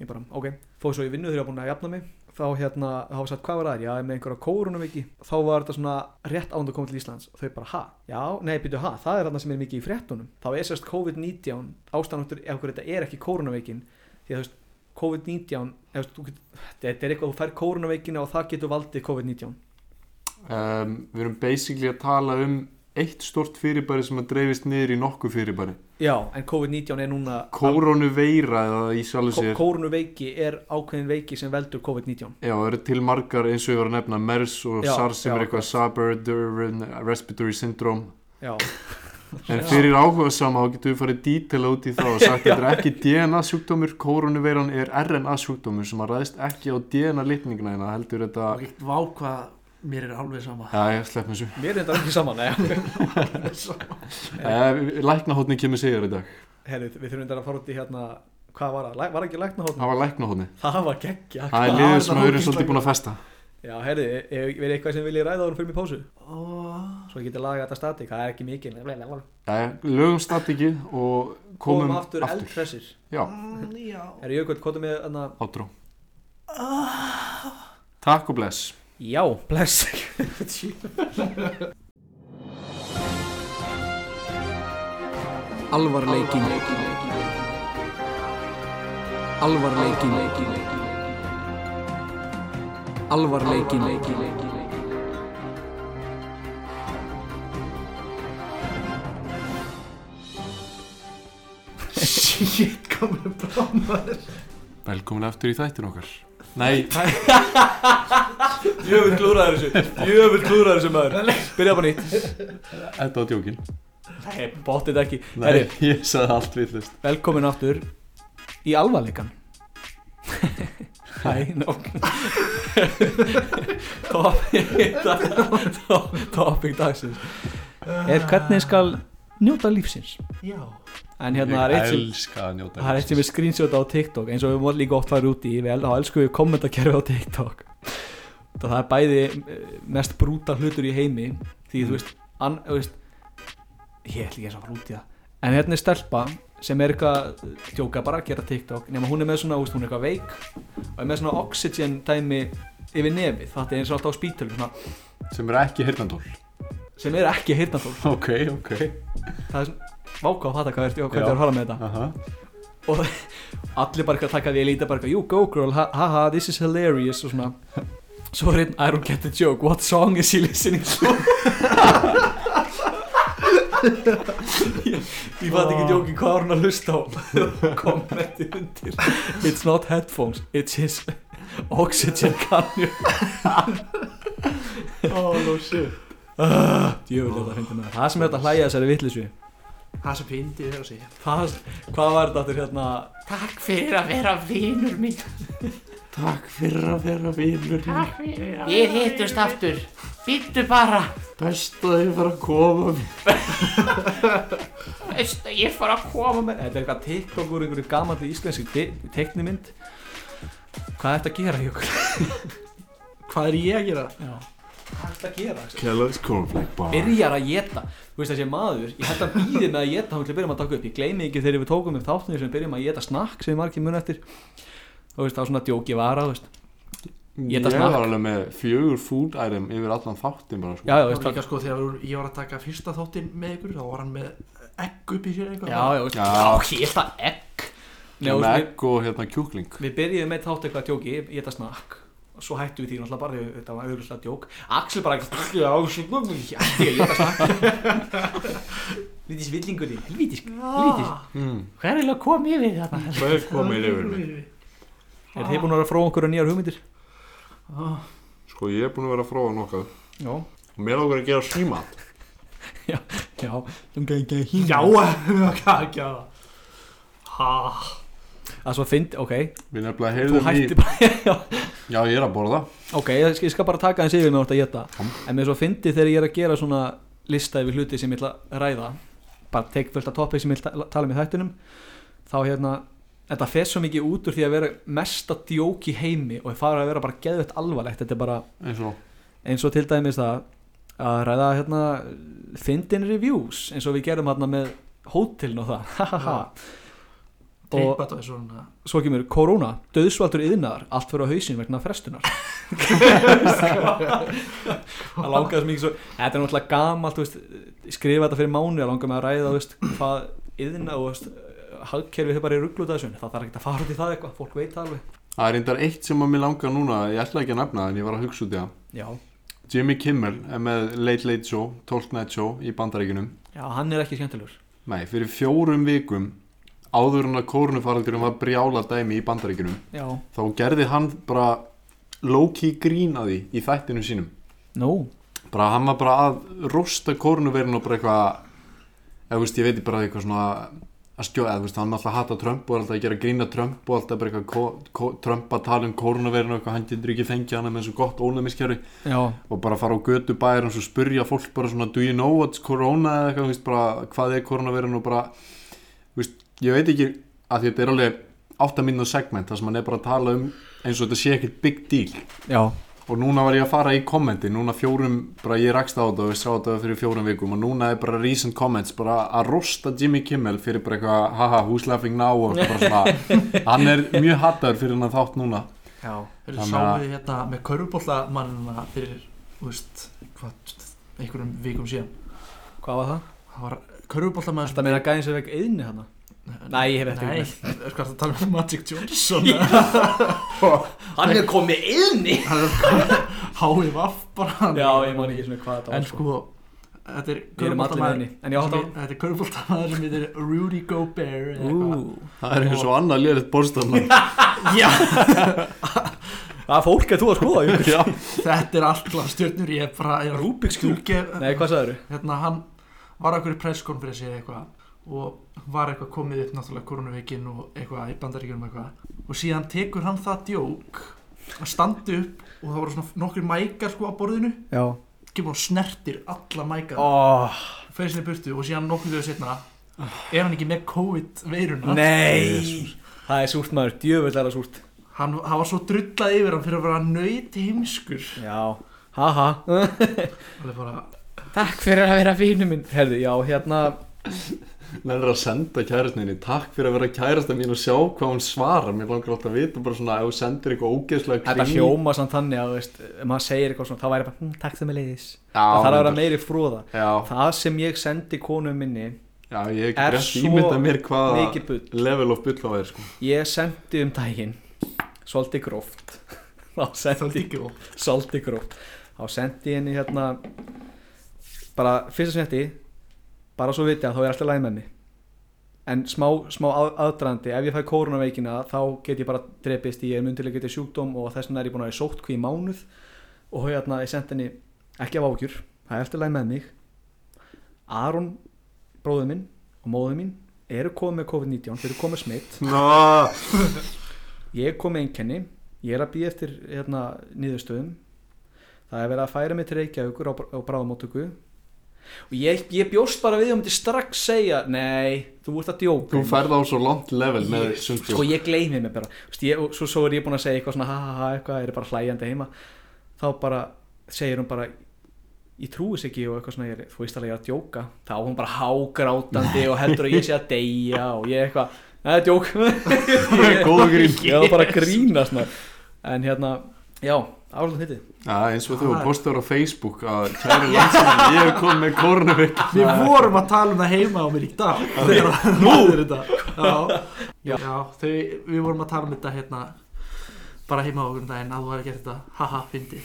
ég bara, ok, þó svo ég vinnu þegar ég var búin að jafna mig þá hérna, þá var sagt, hvað var það, já, ég er með einhverja kórunum ekki, þá var þetta svona rétt ánd að koma til Íslands og þau bara, ha, já, nei, byrju, ha, það er þarna sem er mikið í fréttunum þá er sérst COVID-19 ástæðanáttur ef hverju þetta er ekki kórunaveikin því að þú veist, COVID-19 ef þú veist, þú get- þetta er eitthvað, þú fær kórunaveikina og það getur valdið COVID-19 um, Við erum basically að tala um eitt stort fyrirbæri sem að dreifist niður í nokkuð fyrirbæri já, en COVID-19 er núna Kórónuveira eða í sjálfu sér kórunaveiki er ákveðin veiki sem veldur COVID-19 Já, það eru til margar eins og ég var að nefna MERS og Já, SARS sem já, er eitthvað Saber Respiratory Syndrome já, En Já. fyrir áhuga sama þá getum við farið dítela út í þá og sagt þetta er ekki DNA sjúkdómur, koronaveiran er RNA sjúkdómur sem að ræðist ekki á DNA litningna hérna, heldur þetta og ekkert vá hvað mér er alveg sama Já, ég slepp mér svo mér er þetta ekki saman, nei, eh, Læknahóttni kemur segir í dag Herri, við þurfum þetta að fara út í hérna Hvað var það? Læ- Var ekki læknahóðn? Það var læknahóttni Mm. Það var geggja Það er Hvað liður er sem það við erum ógeðslega svolítið búin að festa Já, herri, verið eitthvað sem viljið ræða árum fyrir mig pásu og Svo ég geti lagað þetta statík, það er ekki mikil Jæja, lögum statíki og komum Komum aftur eldhressir Já, Mm, já Herri Jökull, kvotum við þarna átrú Takk og bless Já, bless Alvarleikin Alvarleikin Alvarleikin Shit, komið brá maður Velkomin aftur í þættin okkar Nei, Jöfull klúraður þessu Jöfull klúraður þessu maður Byrja bara nýtt þetta var djókin Nei, bóttið ekki Nei, Herri, ég sagði allt villist velkomin aftur Í alvarleikan Hæ, nóg Topic Topic dagsins er hvernig skal njóta lífsins Já en hérna það er eitt sem elska að njóta það er eitt sem við screenshota á TikTok eins og við mót líka oft farið út í vel, þá elskum við kommentakerfi á TikTok það, það er bæði eh, mest brúta hlutur í heimi því þú veist, an, þú veist ég ætla ekki eins og að fara út í það en hérna er stelpa sem er eitthvað eh, tjóka bara að gera TikTok nema hún er með svona, þú veist, hún er eitthvað veik og er með svona oxygen dæmi yfir nefið það er eins og alltaf á spítalum svona, sem er ekki hirnandól sem er ekki heyrnatól ok, ok það er svona, váka að fatta hvað er, hvað Já. er að fara með þetta Aha. og allir bara eitthvað að taka því að líta bara eitthvað, you go girl, ha- haha, this is hilarious og svona svo er einn, I don't get the joke, what song is he listening to ég, ég fatt ekki djóki hvað var hún að hlusta á kommenti undir it's not headphones, it's his oxygen canyon Oh no shit uh, djöfulega þetta fyndi með það sem er þetta hlæja þessari vittlisvi Það sem pindi þér að segja hvað var þetta aftur hérna Takk fyrir að vera vinur minn takk fyrir að vera vinur minn. Við hittumst aftur. Býttu bara. best að þið fara að koma Veistu, ég fór að koma með. Þetta er eitthvað TikTok úr einhverju gamalli íslenski teknimynd Hvað ertu að gera, Jökul? Hvað er ég að gera? Já Hvað ertu að gera? Axel? Kellogg's Cornflake Bar Byrjar að geta Þú veist þessi maður, ég held að býði með að geta Hún til að byrjum að taka upp, ég gleymi ekki þegar við tókum upp þáttunni sem byrjum að geta snakk sem ég margir mun eftir Þú veist, það var svona djóki vara, þú veist ég Éta snakk. var alveg með fjögur food item yfir allan þáttin bara sko. Já, já, þú Það veist var það líka sko þegar við- ég var að taka fyrsta þáttinn með ykkur þá var hann með egg upp í sér eitthvað Já, já, þú veist Já. Já, ég held að egg Nei, þú með veist, egg og hérna kjúkling Við byrjuðum með þátt eitthvað djóki, ég þetta snakk og svo hættum við því náttúrulega bara því þetta var auðvitað djók Axel bara já, svona, hætti ég að geta snakk Lítið svillingur þín, helvítis Ah, Lítið, mm. Hver er að koma yfir þarna? hvað er komið yfir mig? er þið búin að vera frá okkur nýjar hugmyndir? Ah. sko ég er búin að vera að fróða nokkað Já, og mér ákveður að gera símat já, þú gæði ekki að Já, hýna hvað að gera? Ha Það svo fynd, ok, mér nefnilega þú heyrðum hætti bara já. í já ég er að borða Ok, ég skal- ég skal bara taka eins yfir með orðið að geta En mér er svo fyndi þegar ég er að gera svona lista yfir hluti sem ég ætla að ræða Bara tek fullt af topic sem ég ætla að tala með þættunum Þá hérna, þetta fer svo mikið út úr því að vera mesta djók í heimi Og það fara að vera bara geðvett alvarlegt Þetta er bara eins og eins og til dæmis það að ræða hérna fyndin reviews Eins og við gerum hérna með hótelin og það Hahaha og Teipat og svona svo kemur korona, döðsvaldur yðnaðar allt fyrir á hausin vegna frestunar það langaði svo mikið svo þetta er náttúrulega gamalt, þú veist, ég skrifa þetta fyrir mánu að langa mig að ræða þú veist, hvað yðna og þú veist, hagkerfið þau bara í ruggluta þessu það þarf ekki að fara út í það eitthvað, fólk veit það alveg Það er reyndar eitt sem að mér langar núna, ég ætla ekki að nefna það en ég var að hugsa út í það. já, Jimmy Kimmel er með Late Late Show, 12 Night Show í bandaríkunum. já, hann er ekki skemmtilegur Nei, fyrir fjórum vikum áður en að kórnufaraldurum var brjála dæmi í bandaríkunum já, þá gerði hann bara low-key grín að því í þættinu sínum. nú, bara hann var bara að rústa kórnuverin og bara eitthvað eða þú veist, ég veit ég bara eitthvað svona að skjóða, eða þú veist, hann alltaf hata Trump og er alltaf að gera grína Trump og alltaf bara eitthvað ko- ko- Trump að tala um kórnuverin og eitthvað, hann getur ekki fengið hann með svo gott ónæmiskerfi já, og bara fara á götu bæir og spyrja fólk bara svona, do you know what's corona eða eitthvað, þú veist, bara hvað er kórnuverin og bara, þú veist, ég veit ekki að þetta er alveg 8 mínútur segment þar sem hann er bara að tala um eins og þetta sé ekkert big deal já og núna var ég að fara í kommenti núna fjórum, bara ég rakst á þetta og ég sá þetta fyrir fjórum vikum og núna er bara recent comments bara að rosta Jimmy Kimmel fyrir bara eitthvað haha who's laughing now og bara svona hann er mjög hattar fyrir hann þátt núna Já, þeir Þannig sáu að- við hérna með körfubóllamannina fyrir, þú veist, hvað, einhverjum vikum síðan hvað var það? Það var körfubóltamaður Þetta meina gæðin sem vekk yðni hana? Nei, ég hef ekki Nei, hugmynd. er hvað það tala um Magic Johnson Hann er komið yðni Háið vaff bara Já, ég man ekki svona hvað þetta En var sko. sko, þetta er Við erum allir körfuboltamaður yðni En ég átt á sem- Þetta er körfubóltamaður sem heitir Rudy Gobert eða eitthvað. Ú, það er eins og annað lélitt bórstofna Já, Það er fólk að þú að skoða Jú. þetta er alltaf stjörnur Ég er bara, ég er Rubik's Cube Stúlge- Nei, hvað sagður? hérna hann var á einhverju presskonferensi eða eitthvað og var eitthvað komið upp náttúrulega koronaveikin og eitthvað í bandaríkjunum eitthvað og síðan tekur hann það djók að standa upp og það voru svona nokkur mækar sko á borðinu Já kemur hann snertir alla mækar oh, og fer sinni í burtu og síðan nokkur þau setna er hann ekki með COVID-veiruna Nei Það er súrt maður, djöfull er það súrt hann, hann var svo drullað yfir hann fyrir að vera nöyt heimskur Já Haha alveg bara Takk fyrir að vera fínu minn Herðu, já, hérna hann er að senda kærastinni takk fyrir að vera kærasta mín og sjá hvað hún svarar mér langar alltaf að vita bara svona ef þú sendir eitthvað ógeðslega Þetta hljóma samt þannig að, þú veist Ef maður segir eitthvað svona Það væri bara, hm, takk þeim með leiðis Það þarf að vera já, meiri fróða já, Það sem ég sendi konu minni já, ég Er hef ekki rétt svo ímyndað mér Mikið hvaða bull level of bull á þér sko Ég sendi um daginn Svolítið gróft Þá það sendi líkjó saldi gróft þá sendi ég henni hérna bara fyrsta sem þetta bara svo viti að þá er alltaf læg með mig en smá, smá að- aðdragandi ef ég fæ koronaveikina þá get ég bara drepist í einu undirlega getið sjúkdóm og þess vegna er ég búin að ég sótt hví mánuð og hérna ég sendi henni ekki af ákjur það er alltaf læg með mig Aron, bróður minn og móður mín eru komið með COVID-19 þau eru komið smitt Ná, ég kom með einkenni ég er að býja eftir hérna, niðurstöðum það er verið að færa mig til Reykjavíkur á, á bráðamóttöku og ég, ég bjóst bara við um þetta strax segja nei, þú ert að djóka Þú færð á svo langt level með Ég- sundjók sko ég gleymi mig bara Vist, ég, og svo, svo er ég búin að segja eitthvað svona ha ha ha eitthvað, er bara hlæjandi heima þá bara segir hún bara ég trúi þess ekki og eitthvað svona ég, er- þú veist alveg ég er að djóka þá er hún bara hágrátandi og heldur að ég sé að deyja og ég eitthvað, neða djók Góðu grín. ég var bara að grína svona. en hérna, já, árlun hitti Já, eins og þú Það er- postar á Facebook að kæri landsmenn, ég hef komið með kornuvik Við vorum að tala um það heima á mér í dag Nú Já, Já. já þau, við vorum að tala um þetta hérna bara heima á okkur um daginn að þú hefði gert þetta haha, fyndi,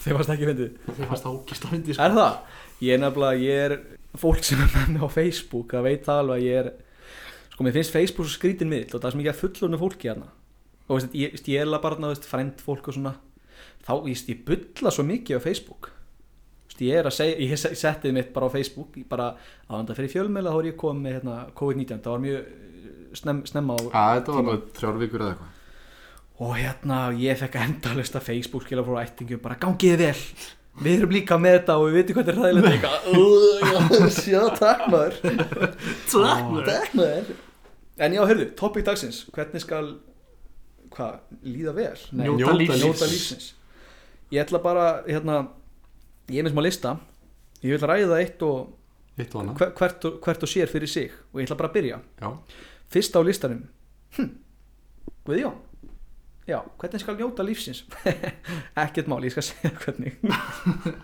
þeir varst ekki fyndið þau fannst það sko. ógist að fyndi Er það? Ég er nefnilega, ég er fólk sem er með mig á Facebook það veit það alveg að ég er sko, mér finnst Facebook svo skrítin miðl og það er svo mikið að fullunum fólki hérna og veist, ég, veist, ég er alveg bara, veist, frænd fólk og svona þá, ég, veist, ég bulla svo mikið á Facebook veist, ég er að segja, ég se- settið mitt bara á Facebook ég bara, aðvanda fyrir fjölmjöla þá er ég komið með hérna, COVID-19, það var mjög eh, snemm, snemma á Já, þetta var alveg þrjár vikur eða eitthvað og hérna ég fekk endalust að Facebook skilja frá ættingum bara gangiði vel við erum líka með þetta og við veitum hvað þetta er ræðilegt eitthvað "Ugh, sjá takk maður það takk maður en já, hörðu, topic dagsins hvernig skal hvað, líða vel? Nei, Njóta lífsins. njóta lífsins ég ætla bara, hérna ég er með smá lista ég vil ræða eitt og Eitt og annað hver- hvert, og- hvert og sér fyrir sig og ég ætla bara að byrja Já, fyrst á listanum Hm. Guðjón, já, hvernig skal njóta lífsins? Ekkert mál, ég skal segja þér hvernig.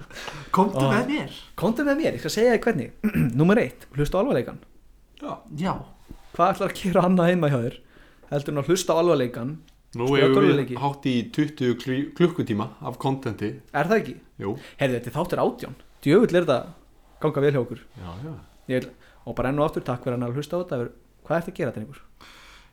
Komdu Ó. með mér Komdu með mér, ég skal segja þér hvernig. Númer eitt, hlusta á alvarleikan. Já, Hvað ætlar að gera annað heima hjá þér? Heldur hún að hlusta á alvarleikan? Nú Spila hefur við tölvuleiki. hátt í 20 klí- klukkutíma af kontenti Er það ekki? Jú, Herðu, þetta er þáttur átján. Djöfull er þetta ganga vel hjá okkur. já, já Ég vil, og bara enn og aftur, takk fyrir hann að hlusta á þetta. Hvað ert að gera þetta einhver?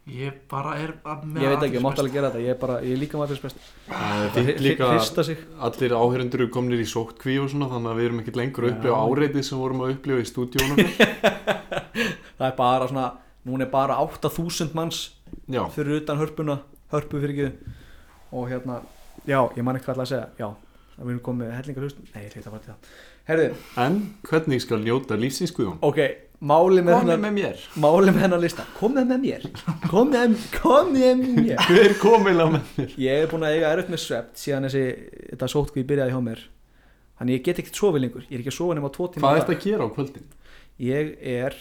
ég bara er að með Ég veit ekki, ég mátt athyglisbest. alveg gera þetta. Ég er bara, ég er líka maður best. Það er Hri- fínt líka hri- Hrista sig. allir áhörundur eru komnir í sótkví og svona þannig að við erum ekkert lengur að upplifa Já. áreitið sem vorum að upplifa í stúdíónu Það er bara svona, núna er bara 8000 manns Já, fyrir utan hörpuna, hörpu fyrir ekki og hérna, já, ég man ekki hvað ætla að segja já, að við erum komið með hellingar hlust nei, ég hlita bara til það herðu, en hvernig skal njóta lífsins Guðjón? ok, máli með hérna- Komið hennar með mér máli með hennar lista, komið með mér komið, komið með mér Hver komið með mér? ég er búin að eiga erut með svept síðan þessi, þetta sótkvíð byrjaði hjá mér þannig ég get ekkert sofið lengur ég er ekki að sofa nema tvo tíma Hvað á er þetta dag. að gera á kvöldin? ég er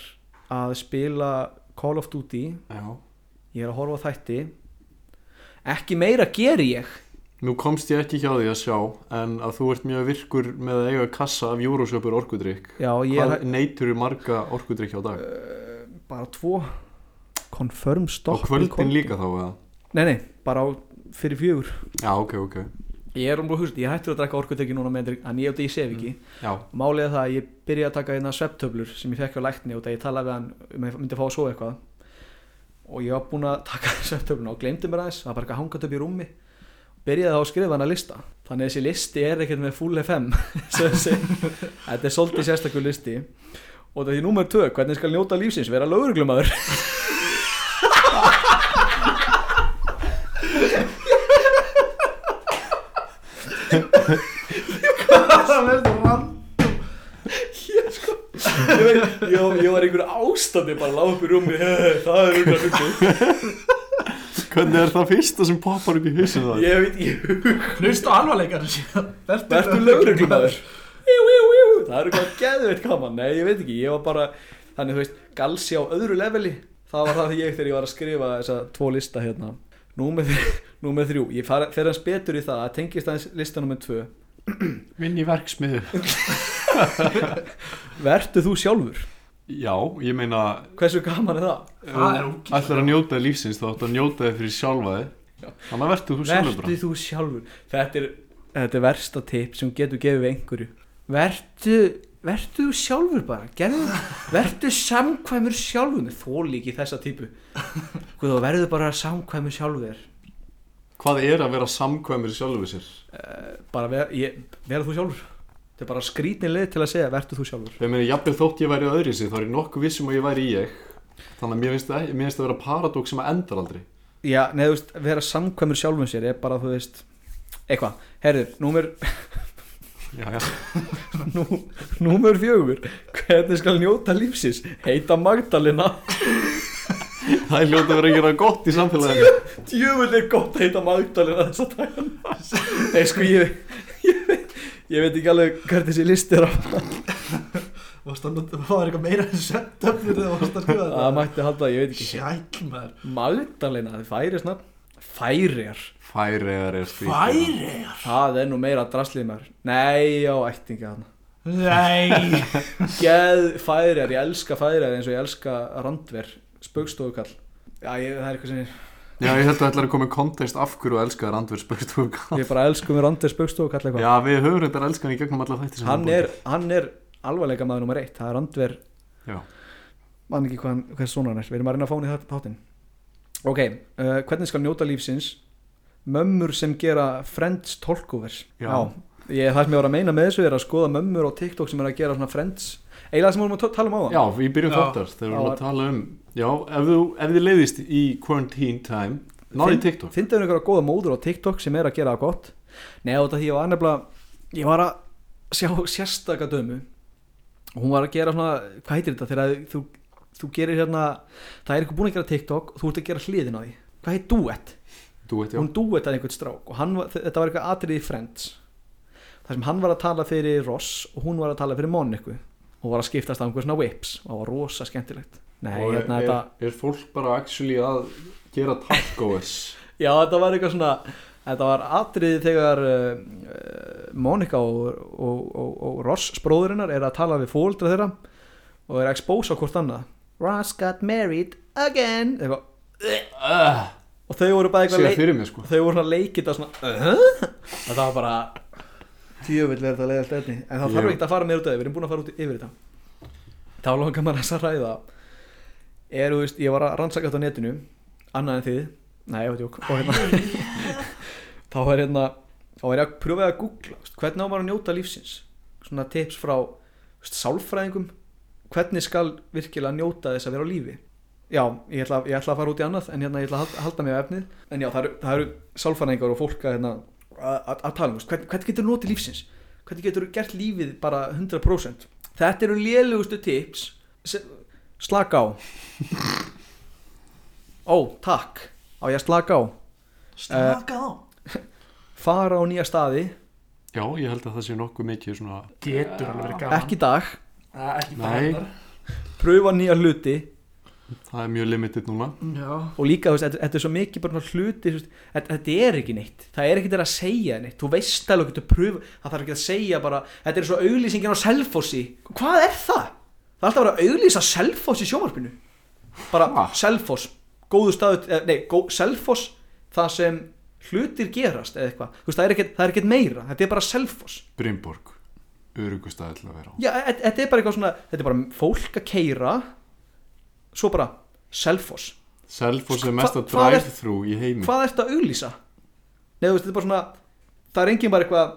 að spila Call of Duty Já ég er að horfa á þætti ekki meira ger ég Nú komst ég ekki hjá því að sjá en að þú ert mjög virkur með að eiga kassa af Euroshopur orkudrykk já, ég er Eh, Hvað neytur marga orkudrykk á dag? bara tvo confirm Á stopp í kvöldin kvöld. líka þá eða? nei nei, bara á fyrir fjögur Já, ok, ok ég er umlúð húst, ég er hættur að drekka orkutekki núna með en ég, ég sef ekki, Já, málið er það að ég byrja að taka hérna svepptöflur sem ég fekk á lækni og það ég talaði við hann um að ég myndi að fá að sofa eitthvað og ég var búin að taka svepptöfluna og gleymdi mér aðeins, það var bara eitthvað hangat upp í rúmi byrjaði þá að skrifa hann að lista þannig að þessi listi er ekkert með full FM sem þessi- þetta er svolítið sérstakur listi og þetta er númer 2, hvernig skal njóta lífsins vera lögurglumæður Það er það rann ég, veit, ég, var- ég var í einhverju ástandi bara lág upp í rúmi það er umhverju hluti hvernig er það fyrsta sem poppar upp í hausinu það? ég veit, ég Hlust á alvarleikar Vertu verður lögreglumæður Jú, jú, jú. það er eitthvað geðveitt gaman nei, ég veit ekki, ég var bara þannig, þú veist, galsi á öðru leveli það var það ég þegar ég var að skrifa þessa tvo lista hérna númer, þr- númer þrjú, ég fer, fer hans betur í það að tengist aðeins lista númer tvö Vinn í verksmiðu verður þú sjálfur? Já, ég meina hversu gaman er það? Það er ógeðslega. Ætlar að njóta lífsins þá ætlar að njóta þið fyrir sjálfa þið Þannig að verður þú sjálfur bara Vertu þú sjálfur Þetta er, þetta er versta tip sem getur gefið einhverju Vertu Vertu þú sjálfur bara Gerðu, Vertu samkvæmur sjálfur Þóli ekki þessa típu Guð, þá Verðu bara samkvæmur sjálfur þér. Hvað er að vera samkvæmur sjálfur sér? Bara ver, ég, vera þú sjálfur Þetta er bara skrítin leið til að segja Vertu þú sjálfur Þegar mér er jafnvel þótt ég væri öðri sér þá er ég nokkuð vissum að ég væri ég Þannig að mér finnst það, mér finnst það að vera paradók sem að endar aldrei Já, nei, þú veist, vera samkvæmur sjálfum sér er bara, þú veist, eitthvað Herðu, númer, Já, já nú, númer fjögur Hvernig skal njóta lífsins? Heita Magdalena Það er ljóta að vera að gera gott í samfélaginu Djöfull er gott að heita Magdalena þessa dagana Nei sko ég, ég, veit- ég veit ekki alveg hvert þessi listi er á Varst að nota- Það var eitthvað meira en setöfnir þegar varst að skrifa Það mætti halda, ég veit ekki Sjæl maður Magdalena, þið færi snart Færiar, Færiðar er skrítið Færiðar það er nú meira draslið maður Nei, já, ættinga þarna Nei Geð færiar, ég elska færiar eins og ég elska randver Spaukstofukall Já, ég, það er eitthvað sem ég, Já, ég held að ætlar að koma í kontekst af hverju og elskaðar andverð spurt og ég bara elsku mér randver spaukstofukall eitthvað Já, við höfum reyndar elskan í gegnum alla þætti sem Hann við er, búum hann er alvarleika maður nummer eitt, það er randver til. Já, man ekki hvað, hvað svona hann er, við erum að reyna að fá hann í þátt- þáttinn ok, uh, hvernig skal njóta lífsins mömmur sem gera friends tolkovers Já. Ég, það sem ég var að meina með þessu er að skoða mömmur á TikTok sem er að gera svona friends eiginlega sem við vorum að ta- tala um á það Já, við byrjum Já. þáttar þegar við Já, erum var- að tala um Já, ef þú, ef þið leiðist í quarantine time Náði TikTok finnst þau um einhverja góða móður á TikTok sem er að gera það gott neða þetta því ég var nefnilega ég var að sjá sérstaka dömu og hún var að gera svona hvað heitir þetta þegar þú, þú gerir hérna það er eitthvað búin að gera TikTok og þú ert að gera hliðin á því hvað heitir duett? Þú veit, já hún dúetaði einhvern strák og hann, var- þetta var eitthvað atriði í Friends þar sem hann var að tala fyrir Ross og hún var að tala fyrir Moniku og var að skiptast á einhver svona whips og það var rosa skemmtilegt nei, Og hérna er, þetta er fólk bara actually að gera tacoers Já, þetta var eitthvað svona Þetta var atriði þegar uh, uh, Monika og, og, og, og Ross bróðurinnar er að tala við fóldra þeirra og er að expósa hvort annað Ross got married again eitthvað, uh, og þau voru bara eitthvað Sér leik, fyrir mér sko þau voru svona leikið og svona uh, þetta var bara tjöfull er þetta leiðast efni en það Já. þarf ekki að fara meir út af því, við erum búin að fara út yfir þetta þá langar maður þess að ræða er, þú veist, ég var að rannsaka þetta á netinu annað en þið, nei, ég veit jók og hérna þá er hérna, þá er ég að pröfa að googla þú veist, hvernig á maður að njóta lífsins svona tips frá þú veist, sálfræðingum hvernig skal virkilega njóta þess að vera á lífi já, ég ætla, ég ætla að fara út í annað en hérna ég ætla að halda, halda mig á efnið en já, það eru, það eru sálfræðingar og fólk að, hérna, að, að, að tala um, þú veist, hvern, hvernig getur notið lífsins hvernig getur gert lífið bara 100% þetta eru lélugustu tips sem, slaka á ó, takk á ég að slaka á Slaka á fara á nýja staði, Já, ég held að það sé nokkuð mikið svona Getur alveg verið gaman ekki í dag Æ, Ekki Nei. bæðar pröfa nýja hluti Það er mjög limited núna Já og líka þú veist, þetta- þetta er svo mikið bara svona hluti þú veist, þetta, þetta er ekki neitt, það er ekki þeirra að segja neitt, þú veist alveg getur pröfa það þarf ekki að segja bara, þetta er svo auglýsingin á selfossi, hvað er það? það er alltaf að vera að auglýsa selfoss í sjómarpinu bara Ha? selfoss góðu staðu, eh, nei, gó, selfoss það sem hlutir gerast eða eitthvað, þú veist, það er ekkert- það er ekkert meira þetta er bara selfoss Brimborg Örugustæði til að vera á Já, e- e- þetta er bara eitthvað svona, þetta er bara fólk að keira svo bara selfoss, Selfoss Hva- er mesta hvað er- drive-thru í heimi hvað ertu að auglýsa? Nei, þú veist, þetta er bara svona það er engin bara eitthvað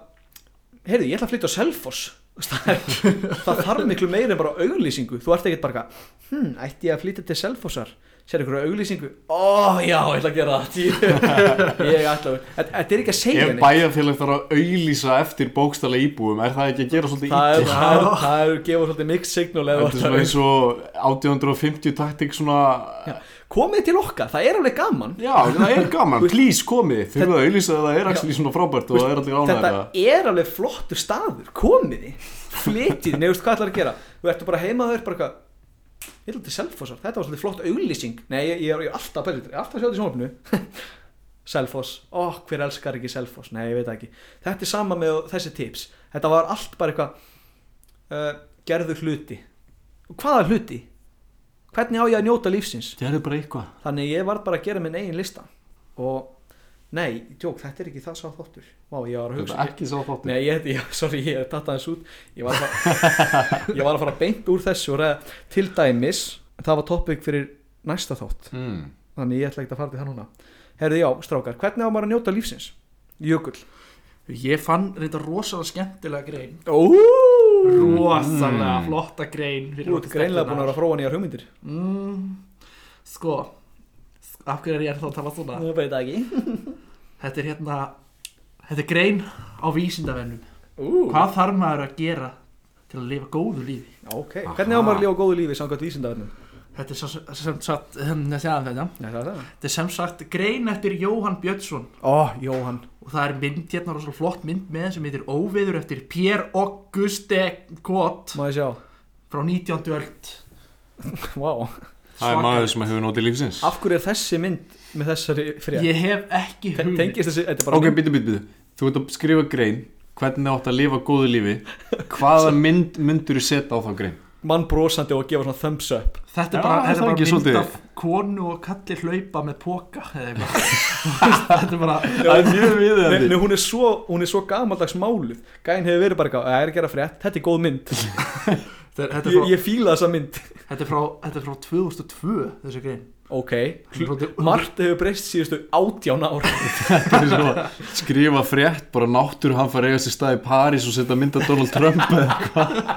heyrðu, ég ætla að flytja á selfoss Þú veist, það, er, það þarf miklu meira en bara auglýsingu þú ert ekkert bara eitthvað, hm, ætti ég að flytja til selfossar sér ykkur auglýsingu ó já, ég ætla að gera það Ég- ég ætla að, þetta þetta er ekki að segja Ef neitt. bæjarfélag þarf að auðlýsa eftir bókstala íbúum er það ekki að gera svolítið það er, illa? það er, það er gefur svolítið mixed signal eða Þetta þú er ert svona að- eins og 1850 taktik svona komið til okkar, það er alveg gaman Já, það er gaman, please komið Þurfa að auðlýsa að það er actually svona frábært og það er allir ánægir þetta að er alveg flottur staður komiði, flytið, nefnst hvað ætlar að gera þú ertu bara heima þau er bara eitthvað ég ætla til Selfossar, þetta var svolítið flott auglýsing nei, ég, ég, er, ég er alltaf að pæla í þetta, ég er alltaf að sjá þetta í sjónvarpinu Selfoss, ó, hver elskar ekki Selfoss nei, ég veit það ekki, þetta er sama með þessi tips, þetta var allt bara eitthvað uh, gerðu hluti hvaða hluti? hvernig á ég að njóta lífsins? Gerðu bara eitthvað þannig ég var bara að gera minn eigin lista og nei, tjók, þetta er ekki það sá þóttur Vá, ég var að Þetta hugsa er ekki sá þáttir Nei, ég, ég, sorry, ég er tatt aðeins út ég var, að fara, ég var að fara beint úr þessu og ræða til dæmis það var topic fyrir næsta þátt mm. þannig ég ætla ekki að fara til það núna Herðu, já, strákar, hvernig á maður að njóta lífsins? Jökull Ég fann reynda rosalega skemmtilega grein Ú, Rosalega Mm. flotta grein fyrir Þú okkur ert greinlega búin að vera stelpurnar. að fróa nýjar hugmyndir mm, Sko Af hverju er ég ennþá að tala svona? Ég veit það ekki Þetta er hérna Þetta er grein á vísindavennum Ú, Hvað þarf maður að gera til að lifa góðu lífi? ok, hvernig á maður að lifa góðu lífi samkvæmt vísindavernum? Þetta er sem, sem sagt um, þessi aðeins þetta. Já, það er það þetta er sem sagt grein eftir Jóhann Björnsson Ó, Jóhann og það er mynd hérna rosalega flott mynd með sem heitir Óviður eftir Pierre Auguste Kott Má ég sjá, frá 19. öld vá Það er maður Svakaleg. sem hefur notið lífsins Af hverju er þessi mynd með þessari frétt? Ég hef ekki Te- hugmynd Tengist þessi, þetta er bara Ok, býtu, býtu, býtu Þú ert að skrifa grein Hvernig átt að lifa góðu lífi Hvaða mynd myndur þú setja á þá grein? mann brosandi og gefa svona thumbs up Þetta Já, er bara, það þetta er er bara mynd ekki svolítið. af konu og kalli hlaupa með póka eða eitthvað Þetta er bara Það er mjög Nei, viðeðandi nei, hún er svo, hún er svo gamaldags máluð Gæn hefur verið bara eitthvað, "Æ, ég er að gera frétt Þetta er góð mynd, Þetta er, þetta er ég, frá, ég fíla þessa mynd Þetta er frá, þetta er frá 2002 þessi grein Ok, Þetta er- margt hefur breyst síðustu átján ára Þetta er svona, Skrifa frétt, bara náttúr Hann fær eiga sér stað í París og setja mynd af Donald Trump eða-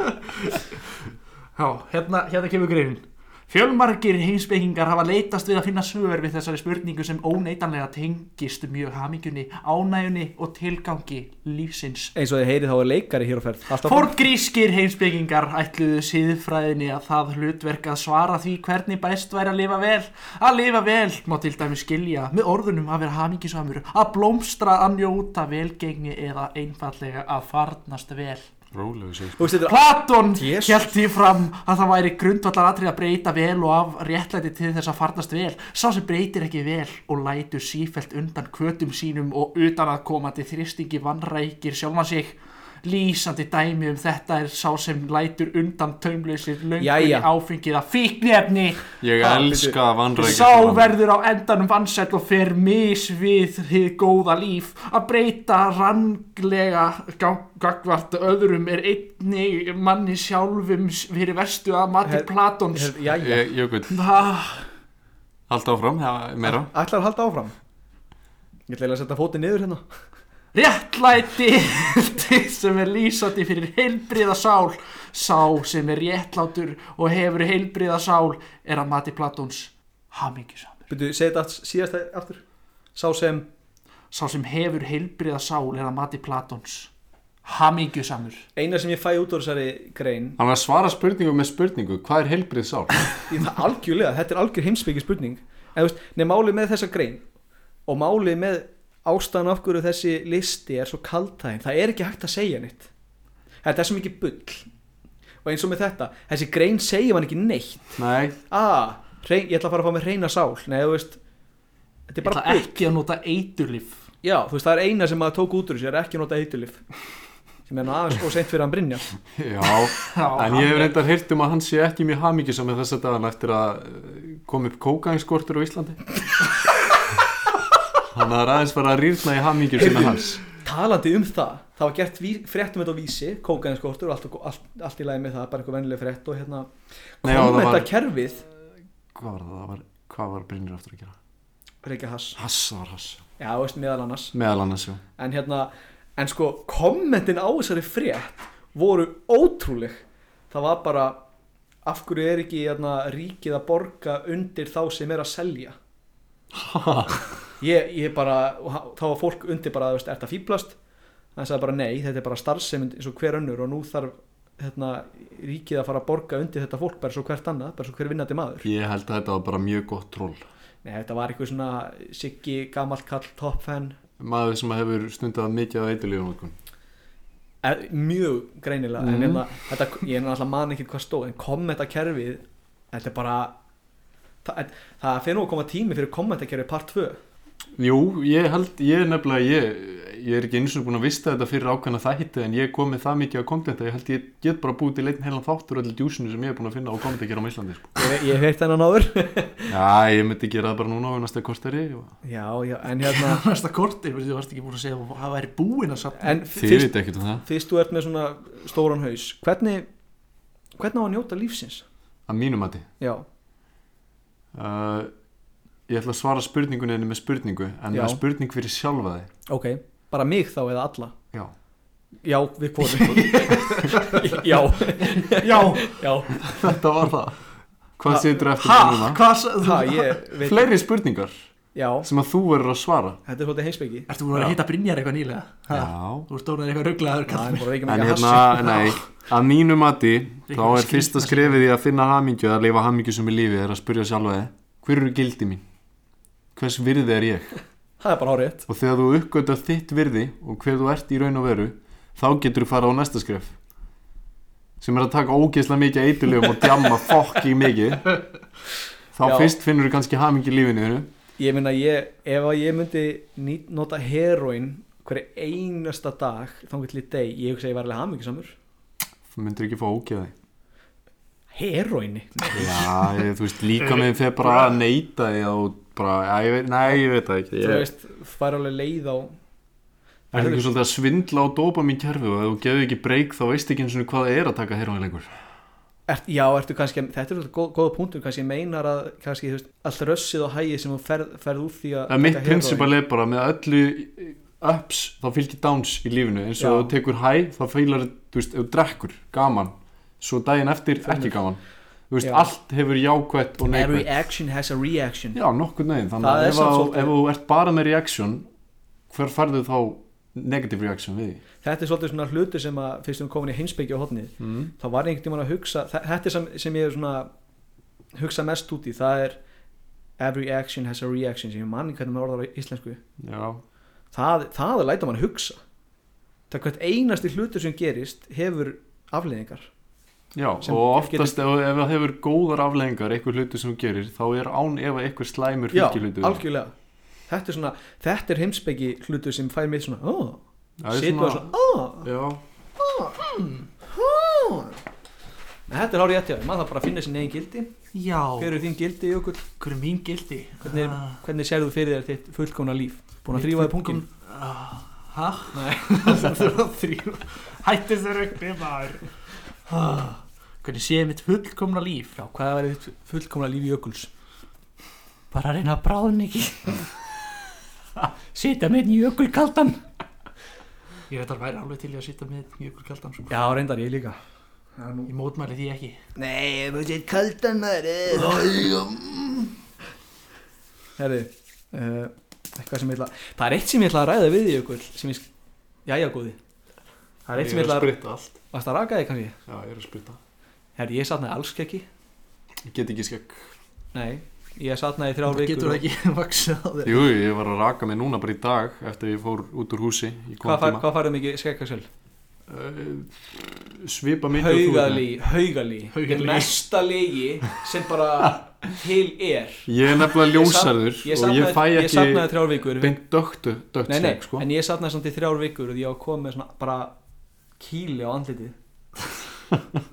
Já, hérna, hérna kemur greinin Fjölmargir heimspekingar hafa leitast við að finna svör við þessari spurningu sem óneitanlega tengist mjög hamingjunni, ánæjunni og tilgangi lífsins. Eins og þið heyrið þá er leikari hér á ferð Alltaf bara- Forngrískir heimspekingar ætluðu síðfræðinni að það hlutverk að svara því hvernig bæst væri að lifa vel. Að lifa vel má til dæmi skilja með orðunum að vera hamingjusamur, að blómstra, að njóta velgengni eða einfallega að farnast vel. Rólegur sér Þú veist, þetta er Platon Jesus. held því fram að það væri grundvallar atrið að breyta vel og af réttlæti til þess að farnast vel sá sem breytir ekki vel og lætur sífelt undan kvötum sínum og utan að komandi þristingi vannrækir sjálfan sig lýsandi dæmi um þetta er sá sem lætur undan taumlausir löngun í Jæja. áfengið að fíknefni Ég Ah, elska vannrækja Sá verður á endanum vansett og fer mis við hið góða líf að breyta ranglega gá- gagvart öðrum er einnig manni sjálfum s- fyrir verstu að mati Her- Platons Her- Jæja, Jökull, Ah, halda áfram, ja, meira ætlar að halda áfram Ég ætla eiginlega að setja fótinn niður hérna Réttlæti sem er lýsandi fyrir heilbriða sál Sá sem er réttlátur og hefur heilbriða sál er að mati Platons hamingjusam Byrju, segi þetta aft- síðast aftur Sá sem Sá sem hefur heilbriða sál er að mati Platons hamingjusamur eina sem ég fæ út úr þessari grein Hann er að svara spurningu með spurningu Hvað er heilbrið sál? Ég- það algjörlega, þetta er algjör heimsbyggi spurning en þú veist, nei málið með þessa grein og málið með ástæðan af hverju þessi listi er svo kaltæðin það er ekki hægt að segja neitt þetta er svo mikið bull og eins og með þetta, þessi grein segja mann ekki neitt Nei, ah, reyn, ég ætla að fara að fá mér reyna sál nei, þú veist, þetta Ég er bara ætla bull ekki að nota eiturlif Já, þú veist, það er eina sem maður tók út úr þessu, er ekki að nota eiturlif sem er nú aðeins og seint fyrir hann Brynja já Já, En ég hef reyndar heyrt um að hann sé ekki mjög hamingið með þessa dagana eftir að eh, kom upp kókangskortur á Íslandi Hann er aðeins fara að rýrna í hamingjur sem er hans Talandi um það, það var gert ví- frétt um þetta á vísi, kókaðinskortur og allt, og- allt, allt í lagi með það, bara einhver vennileg frétt og hérna, Nei, já, það var- kommentakerfið Hvað var það? það var, hvað var Brynir aftur að gera? Reykja Hass, Hass, það var hass já, þú veist, meðal annars Meðal annars, já en hérna, en sko kommentin á þessari frétt voru ótrúleg, það var bara af hverju er ekki hérna, ríkið að borga undir þá sem er að selja Ha, ég, ég bara, og ha- þá var fólk undir bara, þú veist, ert að fýblast hann sagði bara nei, þetta er bara starfsemind eins og hver önnur og nú þarf hérna, ríkið að fara að borga undir þetta fólk bara svo hvert annað, bara svo hver vinnandi maður Ég held að þetta var bara mjög gott troll nei, þetta var eitthvað svona Siggi, gamall kall, toppfenn Maður sem hefur stundað mikið að eitilíðum okkur Eh, mjög greinilega en Mhm. hérna, þetta, ég er náttúrulega man ekki hvað stóð en kommentakerfið þetta er bara það, það fyrir nú að koma tími fyrir kommentakerfið part 2 Jú, ég held, ég er nefnilega, ég, ég er ekki eins og búin að vista þetta fyrir ákveðna þætti en ég kom með það mikið á kontenta, ég held ég get bara búið til einn heilan þáttur öllu djúsinu sem ég er búin að finna á kontenta á Íslandi. Sko. ég, ég veit þennan áður Já, ég myndi gera það bara núna á næsta korteri. og- já, já, en hérna Næsta kortir, þú varst ekki búin að segja að það væri búin að sapna en Þið fyrst- veit ekkert um það. fyrst þú ert með svona stóran haus hvernig, hvernig á að njóta lífsins? Að mínu mati. Já, Uh, ég ætla að svara spurningunni þinni með spurningu, en Já. með spurning fyrir sjálfa þig. ok, bara mig þá eða alla Já. Já, við konum Já, Já, já Þetta var það. Hvað setur eftir ha, það núna? hvað sagði Ha, þú? ég veit Fleiri spurningar Já, sem að þú verður að svara. þetta er svolítið heimsbyggi Ertu búin að hitta Brynjar eitthvað nýlega? Ha, Já. Þú ert orðin eitthvað rugglaður Það er kallum bara ekki En mikið hérna, nei, að mínu mati þá Ríkir er fyrsta skrefið í að finna hamingju eða að lifa hamingju sem er lífið er að spyrja sjálfa þig hver eru gildi mín? Hvers virði er ég? Það er bara hárið Og þegar þú uppgötar þitt virði og hver þú ert í raun og veru þá getur þú fara á næsta skref sem er að taka ógeðslega mikið eitilöfum og djamma fokki mikið þá Já. fyrst finnur þú kannski hamingju í lífinu þínu. Ég meina, ég, ef að ég myndi ný- nota heroin hverja einasta dag þangar til í deg, ég hugsa að ég var alveg hamingisamur þú myndir ekki fá ógeði Heroini? Já, ég, þú veist, líka með þegar bara að neyta því og bara, já, ég veit, nei, ég veit það ekki Þú ég, veist, það er alveg leið á Það er ekki svolítið að svindla á dopamin kerfi og ef þú gefur ekki breyk þá veist ekki eins og hvað það er að taka heroin lengur. Er, já, ertu kannski, þetta er svolítið góð, góða punktur kannski meinar að, kannski, þú veist, allt rössið og hægið sem þú ferð, ferð út því að Það er mitt taka heróín. prinsipal er bara með öllu ups þá fylgir downs í lífinu eins og Já. ef þú tekur hæ þá feilar þú veist, ef þú drekkur, gaman svo daginn eftir ekki gaman þú veist, Já. allt hefur jákvætt og Every neikvætt action has a reaction Já, nokkuð neginn, þannig Það að er ef, samt að, svolítið- ef þú ert bara með reaction hver farðu þá negative reaction við því? Þetta er svolítið svona hluti sem að fyrst um komin í heimsbyggja á hotnið Mm. þá var ég einhvern tímann að hugsa þa- þetta er sem, sem ég er svona hugsa mest út í, það er every action has a reaction sem ég manni hvernig maður orðar á íslensku Já, það, það er læta mann hugsa það hvert einasti hlutur sem gerist hefur afleðingar Já, Sem og oftast ef, ef það hefur góðar afleðingar eitthvað hlutu sem þú gerir, þá er án ef eitthvað slæmur Já, fylgilhutu algjörlega Þetta er svona, þetta er heimspeki hlutur sem fær mig svona, ó, Það er situr og svona, svona- ó Já, En þetta er hárið eftir, maður þarf bara að finna sinni eigin gildi Já, Hver eru þín gildi, Jökull? hver er mín gildi? Hvernig er- Ah, Hvernig sérðu fyrir þér þitt fullkomna líf? Búin að mitt þrýfa í fullkom- punkin? Ah, Hæ? Nei. Það er að þrýfa Hættu þér uppi maður Ah, Hvernig sé ég mitt fullkomna líf? Já, hvað væri þitt fullkomna líf Jökuls? Bara reyna að bráðin ekki Sita með í ökul kaldan Ég veit að væri alveg til í að sitja með jökul kaldan sko. Já, reyndar ég líka Ég mótmæli því ekki Nei, ég múið sér kaldan maður Herri uh, Eitthvað sem ég ætla Það er eitt sem ég ætla að ræða við í ykkur sem ég sk... Jæja góði Það er eitt ég sem ég er ætla að að spritta allt Varst að raka þig kannski? Já, ég er að spritta Herri, ég satnaði alls ekki Ég get ekki skegg Nei, ég satnaði þrjá Það vikur getur og- ekki vaksið á þér Jú, ég var að raka mig núna bara í dag eftir að ég fór út úr húsi í Hvað, góðan fær, tíma. hvað færðu mikið skekkarsel? Eh, Svipa mikið og þú ert með. Haugalí, haugalí Haugalí. Þetta er mesta lígi sem bara til er Ég er nefnilega ljósarður Ég og ég fæ satnaði, ég ekki satnaði þrjár vikur beint döktu, dökt Nei, nei, skegg sko en ég satnaði samt í þrjár vikur og ég var komið með svona bara kýli á andlitið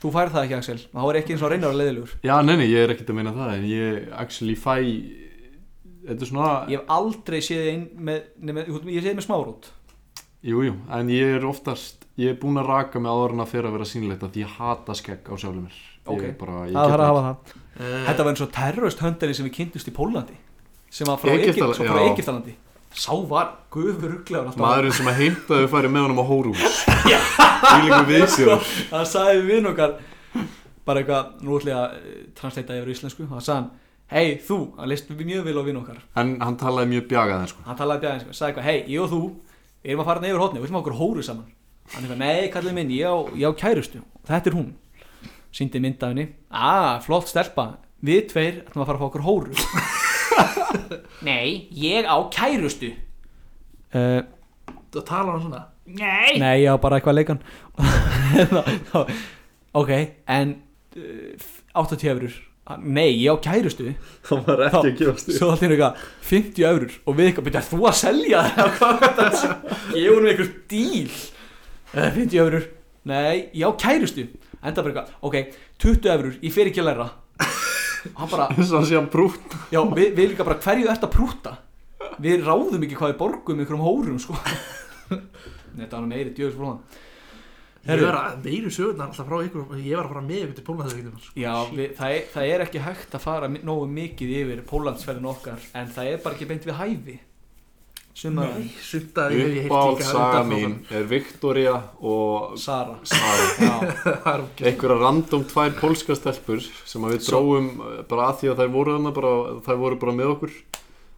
Þú færð það ekki Axel Það var ekki eins og reynar að leiðilegur Já, nei, nei, ég er ekkert að meina það en ég actually fæ Þetta er svona, Ég hef aldrei séð einn með, nema, ég ég séð með smárút jú, jú, en ég er oftast ég er búin að raka mig áður en að fyrir að vera sínleita því ég hata skegg á sjálfum mér Ok. Ég bara, ég Það get þarf að ekki- hafa það Þetta var eins og terrorist höndari sem við kynntust í Pólandi sem var frá Egypt- Egyptaland, svo frá já. Egyptalandi Sá var gufur rugglegar Maðurinn sem að heimtaði að færi með honum á hórús Því líka við sér Það sagði við okkar bara eitthvað, nú ætla ég að eh, translata yfir á íslensku og það sagði hann, hei þú, hann leist mjög vel á vinn okkar En hann talaði mjög bjagað en sko hann talaði bjæðins og sagði eitthvað, hei, ég og þú við erum að fara neyfur hótni, við viljum hafa okkur hóru saman hann eitthvað, nei, kallið minn, ég á, ég á kærustu og þetta er hún síndi mynd af henni, aaa, flott stelpa við tveir ætlum að fara að fá okkur hóru Nei, ég á kærustu uh, Það tala hann svona Nei, nei, ég á bara eitthvað leikan ok, en uh, 80 eurur nei, ég á kærustu Það var ekki að gefast svo allt í einu eitthvað 50 eurur og við eitthvað byrjar þú að selja það Hvað var þetta? gefa hún einhver díl Eh, 50 eurur, nei, já kærustu enda bara eitthvað, ok, 20 eurur ég fer ekki að læra og hann bara, Svo hann sé hann brútt já, við, við líka bara hverju ert að prúta við ráðum ekki hvað við borgum einhverjum hórum sko Nei, þetta var nú meiri djöfis fróðan Ég var að meiru sögurnar alltaf frá ykkur og Ég var að fara með ykkur til sko. Pólland þegar ykkur Já, við, það, er, það er ekki hægt að fara mi- nógu mikið yfir Pólandsferðin okkar en það er bara ekki beint við hæfi Sumar Nei, sumt að ég hef ég heyrt Uppáld líka saga undanfrá mín er Viktoria og Sara Sara Já, Það er ógeðslegt. einhverja random tvær pólska stelpur sem að við Svo- dróum eh, bara að því að þær voru hana bara, þær voru bara með okkur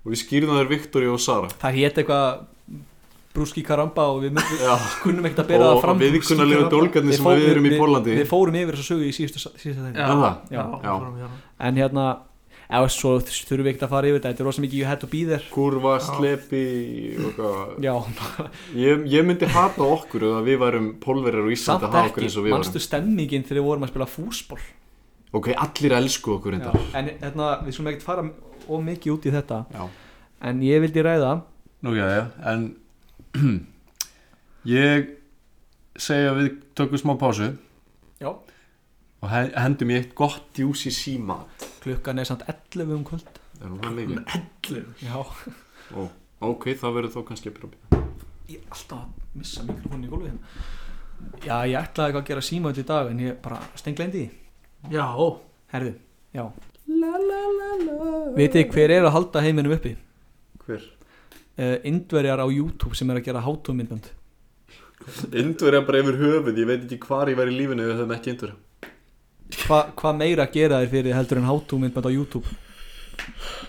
og við skýrðum þær Viktori og Sara það hétt eitthvað brúski karamba og við myndum, Já, kunnum ekkert að bera það og fram viðkunnarlegu dólgarnir sem fó- við erum í Pólandi við fórum yfir þess að sögu í síðustu, síðustu þeim Já, það. Já. Já, Já. fórum við þarna. en hérna, eða svo þurfum við ekkert að fara yfir þetta þetta er rosa mikið you had to be there kurva, slepi og eitthvað. Já, ég, ég myndi hata okkur ef að við værum pólverjar samt og Íslandi að hafa okkur ekki, eins og við mannstu stemmingin þegar við vorum að spila fúsból værum ok, allir elsku okkur Já, þetta en hérna, við skulum ekkert fara of mikið út í þetta Já. en ég vildi ræða Nú já, já, en ég segja að við tökum smá pásu Já. og he- hendum í eitt gott djúsi símat klukkan er samt 11 um kvöld Er hún það mikið? Já, Mm. Ó, ok, það verður þó kannski að byrja að ég er alltaf að missa mikrofónu í gólfið hérna Já, ég ætlaði eitthvað að gera síma í dag en ég bara stenglendi því Já, ó, Herðu, já Vitið þið hver er að halda heiminum uppi? Hver? Uh, Indverjar á YouTube sem er að gera hátumyndband Indverja bara yfir höfuð, ég veit ekki hvar ég væri í lífinu ef við höfum ekki indverja Hva, Hvað meira gera þeir fyrir heldur en hátumyndband á YouTube?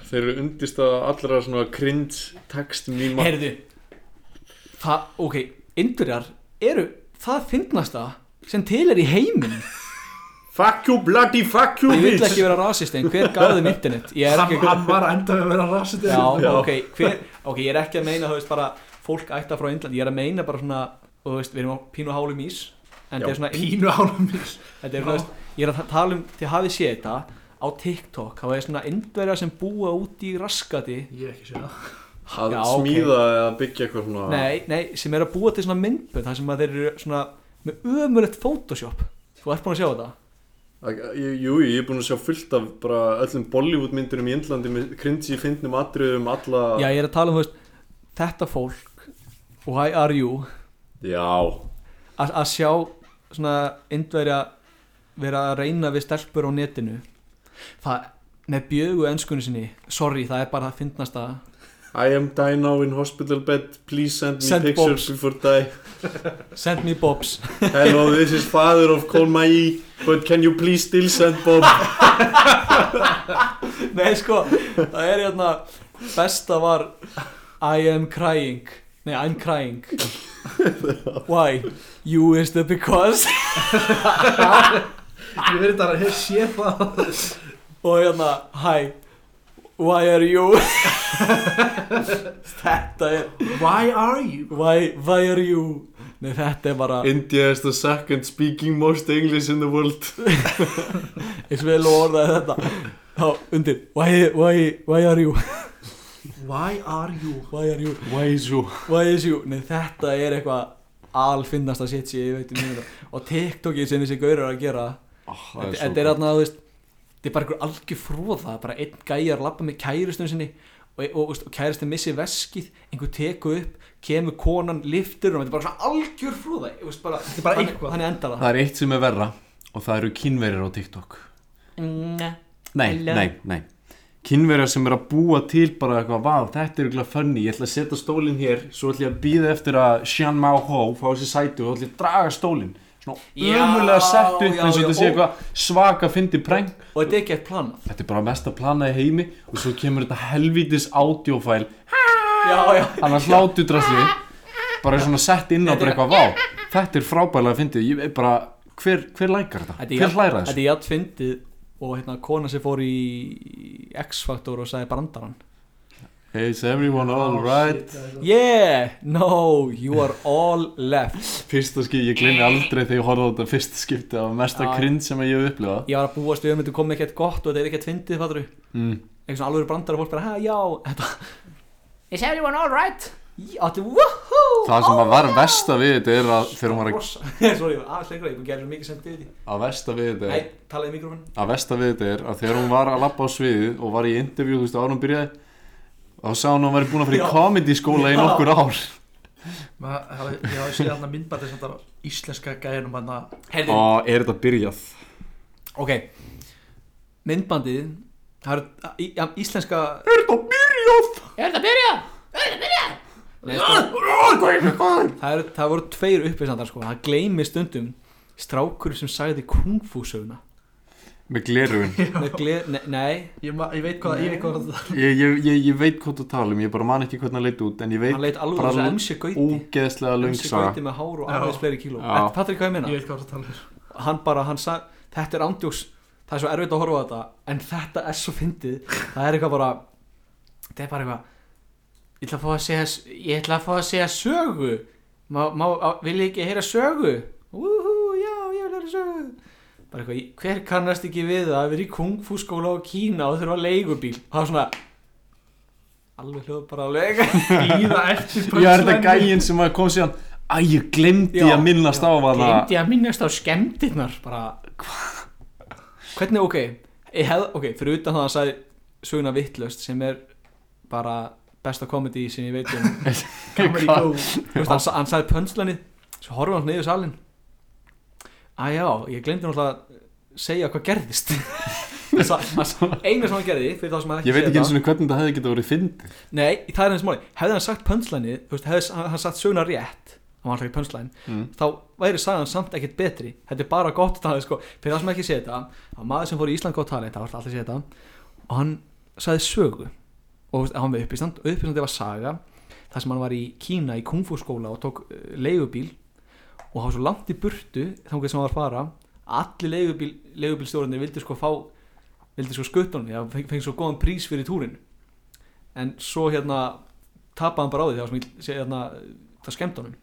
Þeir eru undist að allra svona cringe text mýma Herðu Það, ok, Indverjar eru það fyndnasta sem til er í heiminum Fuck you bloody fuck you Ég vil bitch ekki vera rasist en hver gaf þeim internet? Ég er hann ekki hann var að enda með að vera rasið Já, Já. ok, hver, ok, ég er ekki að meina, þú veist, bara fólk ætta frá Indlandi ég er að meina bara svona og þú veist, við erum á pínu hálum ís en Já, þetta er svona Pínu ánum mér þetta er, Já. þú veist, ég er að tala um til hafið séð þetta á TikTok þá er svona indverja sem búa út í raskati Ég hef ekki séð það Að Já, ok. smíða eða byggja eitthvað svona nei, nei, sem er að búa til svona myndbönd þar sem að þeir eru svona með ömulegt Photoshop þú ert búin að sjá þetta Að- ég- Jú, ég er búin að sjá fullt af bara öllum Bollywood myndunum í Indlandi með cringy fyndnum atriðum alla Já, ég er að tala um þú veist, þetta fólk why are you Já, að að sjá svona indverja vera að reyna við stelpur á netinu það með bjögu enskunni sinni sorry, það er bara að finnast að I am dying now in hospital bed Please send me Send pictures box. before die send me bobs Hello, this is father of Kolmai But can you please still send Bob nei sko, það er hérna besta var I am crying nei, I'm crying why, you is the because Ég verið þetta að hef séð það og hérna, hi why are you þetta er Why are you? Why, why are you Nei þetta er bara India is the second speaking most English in the world eins og við lorðaði þetta þá undir why, why, why are you Why are you? Why are you Why is you? Why is you Nei þetta er eitthvað alfinnasta shit sem ég veit um þetta. og TikTokið sem þessi gaur eru að gera Ah, það þetta svo þetta er gott. þarna þú veist þetta er bara einhver algjör fróða bara einn gæjar lappa með kæristun sinni og, og, og, og kæristun missi veskið einhver teku upp kemur konan liftur og þetta er bara svona algjör fróða bara, Þetta er bara þannig- eitthvað. þannig endar það Það er eitt sem er verra og það eru kynverjar á TikTok Mm, Nei, Hello. nei, nei Kynverjar sem er að búa til bara eitthvað Vá, þetta er eitthvað funny, ég ætla að setja stólinn hér Svo ætla ég að býða eftir að Xian Mao Ho fá sér sæti og þá ætla ég að draga stólinn Svona Já, ömulega sett upp já, eins og já, þetta sé ó. eitthvað svaka fyndi prank og þetta er ekki eitt planað Þetta er bara mesta planað í heimi og svo kemur þetta helvítis audiofæl já, já. hann að hlátu drasli bara svona sett inn á bara eitthvað vá þetta er frábælega fyndið ég er bara hver, hver lækar þetta, Þetta er hver jafn- hlæra Þetta þessu er jætt fyndið og hérna kona sem fór í X-faktor og sagði brandarann is everyone Oh, alright Yeah, no, you are all left fyrsta skipti, ég gleymi aldrei þegar ég horfði á þetta fyrsta skipti af mesta Já. krynd sem ég hef upplifað Ég var að búast við að myndi koma ekkert gott og þetta er ekkert fyndið, fattur við mm. Eitthvað svona alveg brandar og fólk bara, hæ, já Þetta, Is everyone alright? þetta, woohoo Oh, það sem að var versta við þetta er að þegar hún var að, Rosa, sorry, ég var aðeins lengra, ég búið að gera svo mikið sendið því að versta við þetta er Nei, talaði í mikrofon að versta við þetta er að þegar hún var að lappa á sviðið og var í intervjú, þú veist, árum byrjaði þá sá hún að hún væri búin að fara Já. í comedy skóla í nokkur ár Ma, hafði- Ég hafði séð hann að myndbæti sem þetta íslenska gæðinum hann að Herði, og er þetta byrjað ok Myndbandið Það eru í- ja, íslenska Er þetta að byrja? Nei, sko, það, er, það voru tveir uppisandar sko. það gleymi stundum strákur sem sagði kungfú söguna með glerun Með gle- ne- nei, Ég, ma- ég veit hvað ég veit hvað það er ég, ég, ég, ég veit hvað þú tala um, ég bara man ekki hvernig hann leit út en ég veit hann leit alveg bara þess að MC Gauti ógeðslega MC lungsa Gauti með hár og Já. aðeins fleiri kíló Já. Þetta- Patrik, hvað ég Ég meina? veit hvað það um. er Hann bara, hann sagði, þetta er ándjóks það er svo erfitt að horfa á þetta en þetta er svo fyndið það er eitthvað bara, þetta er bara eitthvað Ég ætla að fá að segja, ég ætla að fá að segja sögu. Má, má, á, vil ég ekki heyra sögu? úhú, já, ég vil vera sögðu bara eitthvað, í- hver kannast ekki við það að vera í kungfú skóla á Kína og þurfa leigubíl það var svona alveg hljóð bara alveg Íða eftir ég er þetta punchline-i. gægin sem að kom síðan æ, ég glemdi Já, að já, minnast á hana Glemdi að minnast á skemmtinnar. bara, hvernig, ok ég hef, ok, fyrir utan það að hann sagði söguna vittlust sem er bara besta komedi sem ég veit um Comedy Hvað? Gold. Þú veist, hann, sa- hann sagði pönslanið svo horfði hann niður salin að já, ég glemdi náttúrulega að segja hvað gerðist Hann sa- hann sa- eina sem hann gerði fyrir þá sem hann ekki ég veit séð ekki það- eins og hvernig þetta hefði getið verið fyndið Nei, það er eins máli Hefði hann sagt pönslæni, þú veist, hefði hann, hann sagt söguna rétt hann var alltaf ekki pönslæn Mm. þá væri sagan samt ekkert betri þetta er bara gott talent sko fyrir það sem ekki sé þetta það var maður sem fór í Ísland gott talent það var alltaf að sé þetta og hann sagði sögu og þú veist, hann var uppistand og uppistandi var saga þar sem hann var í Kína í kungfu skóla og tók uh, leigubíl og hann var svo langt í burtu þangar sem hann var að fara allir leigubíl, leigubílstjórnir vildi sko fá vildi sko skuttunum því að fengi svo góðan prís fyrir túrin en svo hérna tapaði hann bara á því þegar sem ég segi þarna það skemmt honum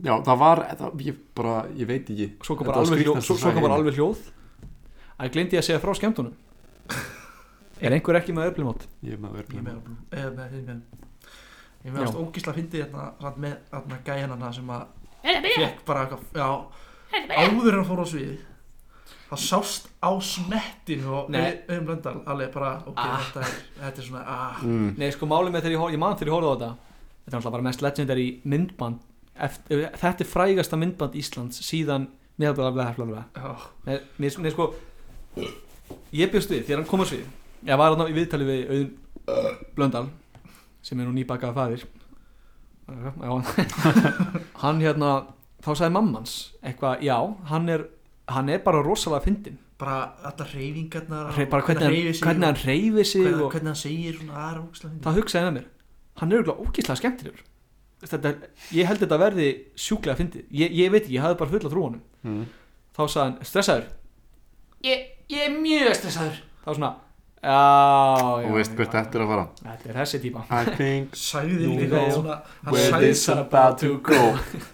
Já, það var, það, ég bara, ég veit ekki og svo kom Þetta bara var alveg hljóð skrýtnasta svo, svo kom saga bara í alveg hljóð að ég gleyndi ég að segja frá skemmt honum er einhver ekki með öflimót Ég er með verið ég með með eða með hinn með ég meðast ógísla fyndið hérna samt með hérna gæjan hana sem að fekk bara eitthvað já, áður en hann fór á svið það sást á smettinu og Nei. auðum blöndal alveg bara ok, Ah. þetta, er, þetta er svona ah. mm. nei sko málið með þegar ég, hor- ég man þegar ég horfði á þetta þetta er náttúrulega bara mest legendary myndband eftir, þetta er frægasta myndband Íslands síðan meðalblæðablæðablæðablæð já, Nei, nei, nei, sko Ég bjóst við þegar hann kom á svið Ég var hann í viðtali við Auðun Blöndal sem er nú nýbakaða faðir Já, Hann hérna þá sagði mammans eitthvað, já, hann er hann er bara rosalega fyndin bara allar reyfingarnar Hre- bara hvernig, hann, hvernig hann reyfi sig hvernig, og hvernig hann segir svona ah, aðra ógísla fyndið það hugsaði með mér hann er auðvitað ógíslega skemmtilegur þetta, ég held þetta verði sjúklega fyndið ég, ég veit ekki, ég hafði bara fulla trú á honum Mm. þá sagði hann, stressaður Ég, ég er mjög stressaður þá svona, já, já Og veist hvert þetta er að fara Þetta er þessi típa I think sagði Nú líka go. svona hann where sagði, this is about to go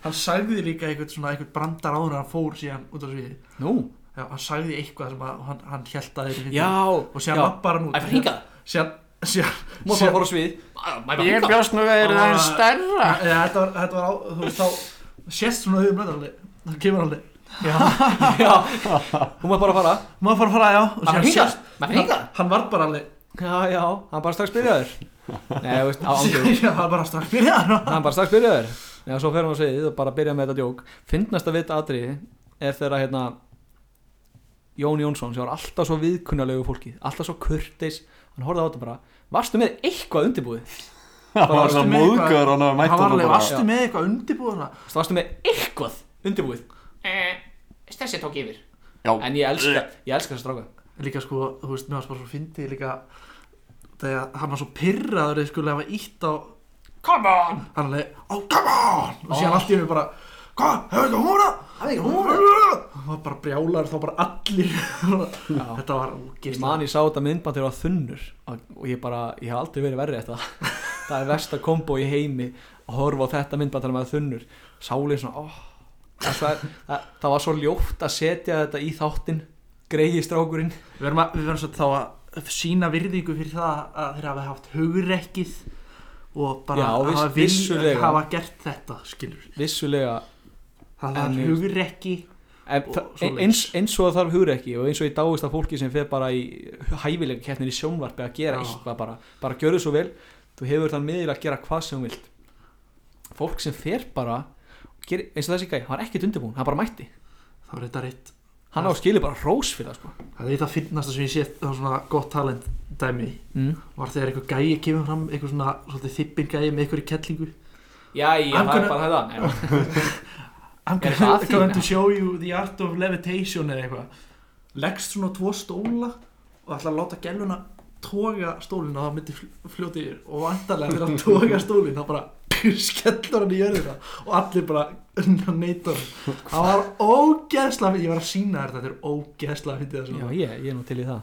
hann sagði líka eitthvað svona eitthvað brandar áður en hann fór síðan út á sviði Nú, já, hann sagði eitthvað sem að hann, hann held að þeir fyndið. já og síðan já. lappar hann út Það er hringað síðan, síðan, Má fara að fara á svið Mæ, Ég bjóst með verið Það var- aðeins stærra eða, þetta var, þetta var á, þú veist þá sést svona auðvitað blöndar það kemur alveg, Já Hún má bara að fara maður fara að fara, já og Maður síðan hringað. sést, Maður hann, hringað. hann var bara alveg Já, já Hann bara strax byrjaður Nei, þú veist, á ándur síðan, hann bara strax byrja Hann bara strax byrjaður Já, svo fer hann á sviðið og bara byrja með þetta djók Fyndnast að vita atriði er þegar að, hérna Jón Jónsson sem var alltaf svo viðkunnalegu fólki Alltaf svo kurteis Hann horfði á þetta bara Varstu með eitthvað undirbúið? Það var varstu það með eitthvað- móðgöður hann að mæta hann var hann alveg, bara varstu með eitthvað undirbúðuna Varstu með eitthvað undirbúið? Eh, Stressið tók yfir Já, En ég elska, ég elska þess að stráka líka sko, þú veist, mér varst bara svo fyndið líka þegar hann var svo pyrraður eða skulle hafa ítt á Come on hann alveg, oh come on og Oh. síðan allt í hennu bara, hvað, hefur ekki hóra hefur ekki hóra og hann bara brjálar þá bara allir þetta var Ég ógeðslega man ég sá þetta myndband þegar það var þunnur og og ég bara, ég hef aldrei verið verri þetta það er versta kombo í heimi að horfa á þetta myndband þegar maður er þunnur sálið svona, óh það, það, það, það var svo ljótt að setja þetta í þáttinn greiði strákurinn Við verðum, að, við verðum svo þá að sína virðingu fyrir það að þeir hafa haft hugrekkið og bara Já, viss- hafa, vil- vissulega. hafa gert þetta, skilur. vissulega Það En var ég- hugrekki. en, Og það, svoleiðis. eins, eins og það þarf hugur ekki og eins og ég dáist að fólki sem fer bara í hæfilega keppnin í sjónvarpi að gera Já. eitthvað bara bara gjörðu svo vel, þú hefur þann miðil að gera hvað sem þú vilt fólk sem fer bara gerir, eins og þessi gæði, hann var ekkert undirbúin, hann bara mætti Það var þetta rétt. hann á skilið bara rós fyrir það sko. Það er eitt að finnast sem ég sé það var svona gott talent dæmi mm. var þegar eitthvað gæi kemur fram, eitthvað svona svolítið þippin gæi með eitthvað í kellingu. já, já, Hann það er kunni- bara þetta Nei, I'm Er það að gonna, going þín? to show you the art of levitation eða eitthvað. Leggst svona á tvo stóla og ætla að láta gæluna toga stólinn og það myndi fl- fljóta yfir og vantarlega þegar hann toga stólinn þá bara skellur hann í jörðina og allir bara neytar hann það var ógeðslega fyndið ég var að sína þér þetta, þetta er ógeðslega fyndið það sem já, var. ég, ég er nú til í það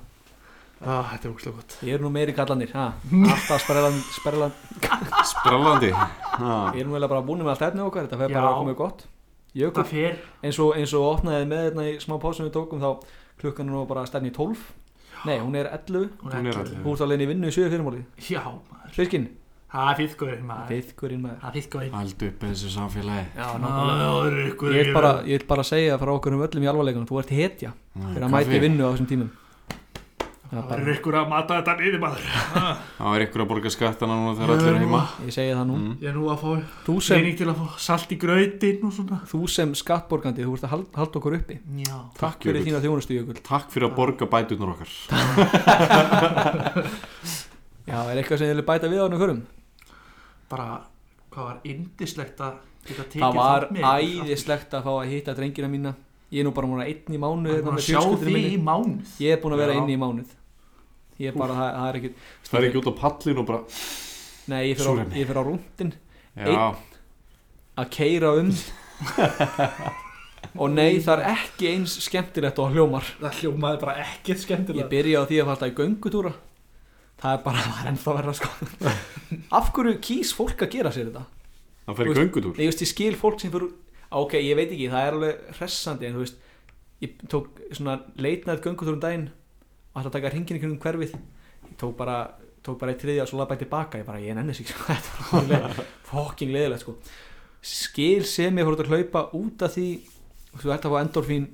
ah, þetta er ógeðslega gott ég er nú meiri kallanir, ha alltaf sperlan, sperlan sprallandi Ha. ég er nú eiginlega bara búin með allt efni okkar þetta fer Já. bara að koma í gott Jökull, það fer eins og, eins og opnaði með hérna í smá pásum við tókum þá klukkan er nú bara stærn í 12 nei, hún er 11 Hún er allir hún er alveg í vinnu í 7 fyrirmáli já maður Fiskin, það er fyrðgóðurinn maður fiðkurinn maður það er fyrðgóðurinn Allt upp eins og samfélagi já, nákvæmlega. Ah, ég ég vil bara, ég vil bara segja frá okkur um öllum í alvarleikunum þú ert hetja fyrir að mæta í vinnu á þessum tímum Já, það bara, verður ykkur að mata þetta niður maður Það er ykkur að borga skattana núna þegar allir er heima ég segi það nú Mm. ég er nú að fá þú sem, reyning til að fá salt í grautin og svona þú sem skattborgandi, þú ert að halda, halda okkur uppi já Takk fyrir Jökull. þína þjónustu Jökull Takk fyrir að borga bæturnar okkar Já, er eitthvað sem þið vilja bæta við á hann og hverjum? bara hvað var indislegt að geta tekið Það var þátt með ykkur. æðislegt að fá að hitta drengina mína Ég er nú bara múin að einn í mánuð Maður er hérna búin að með sjá fjölskyldunni því minni. í mánuð Ég er búin að vera Já. inn í mánuð Ég er bara, það, það er ekki Það er ekki út á pallin og bara Nei, ég fyrir á, Súrefni. ég fer á rúndin Já, að keira um Og nei, það er ekki eins skemmtilegt og það hljómar það hljómaði bara ekkert Ég skemmtilega byrjaði á því að fara alltaf í göngutúra það er bara það er ennþá verra sko af hverju kýs fólk að gera sér þetta Hann fer í göngutúr Nei, ég veist, ég skil fólk sem fyrir Ok, ég veit ekki, það er alveg hressandi En þú veist, ég tók svona leitnært göngutúr um daginn Og ætla að taka hringin í kringum hverfið Ég tók bara, tók bara eitt þriðja og svo labbaði tilbaka Ég bara, ég nenni sig, sko Þetta var alveg fokking leðilegt, sko Skil sem ég fór út að hlaupa út af því Þú ert að fá endorfín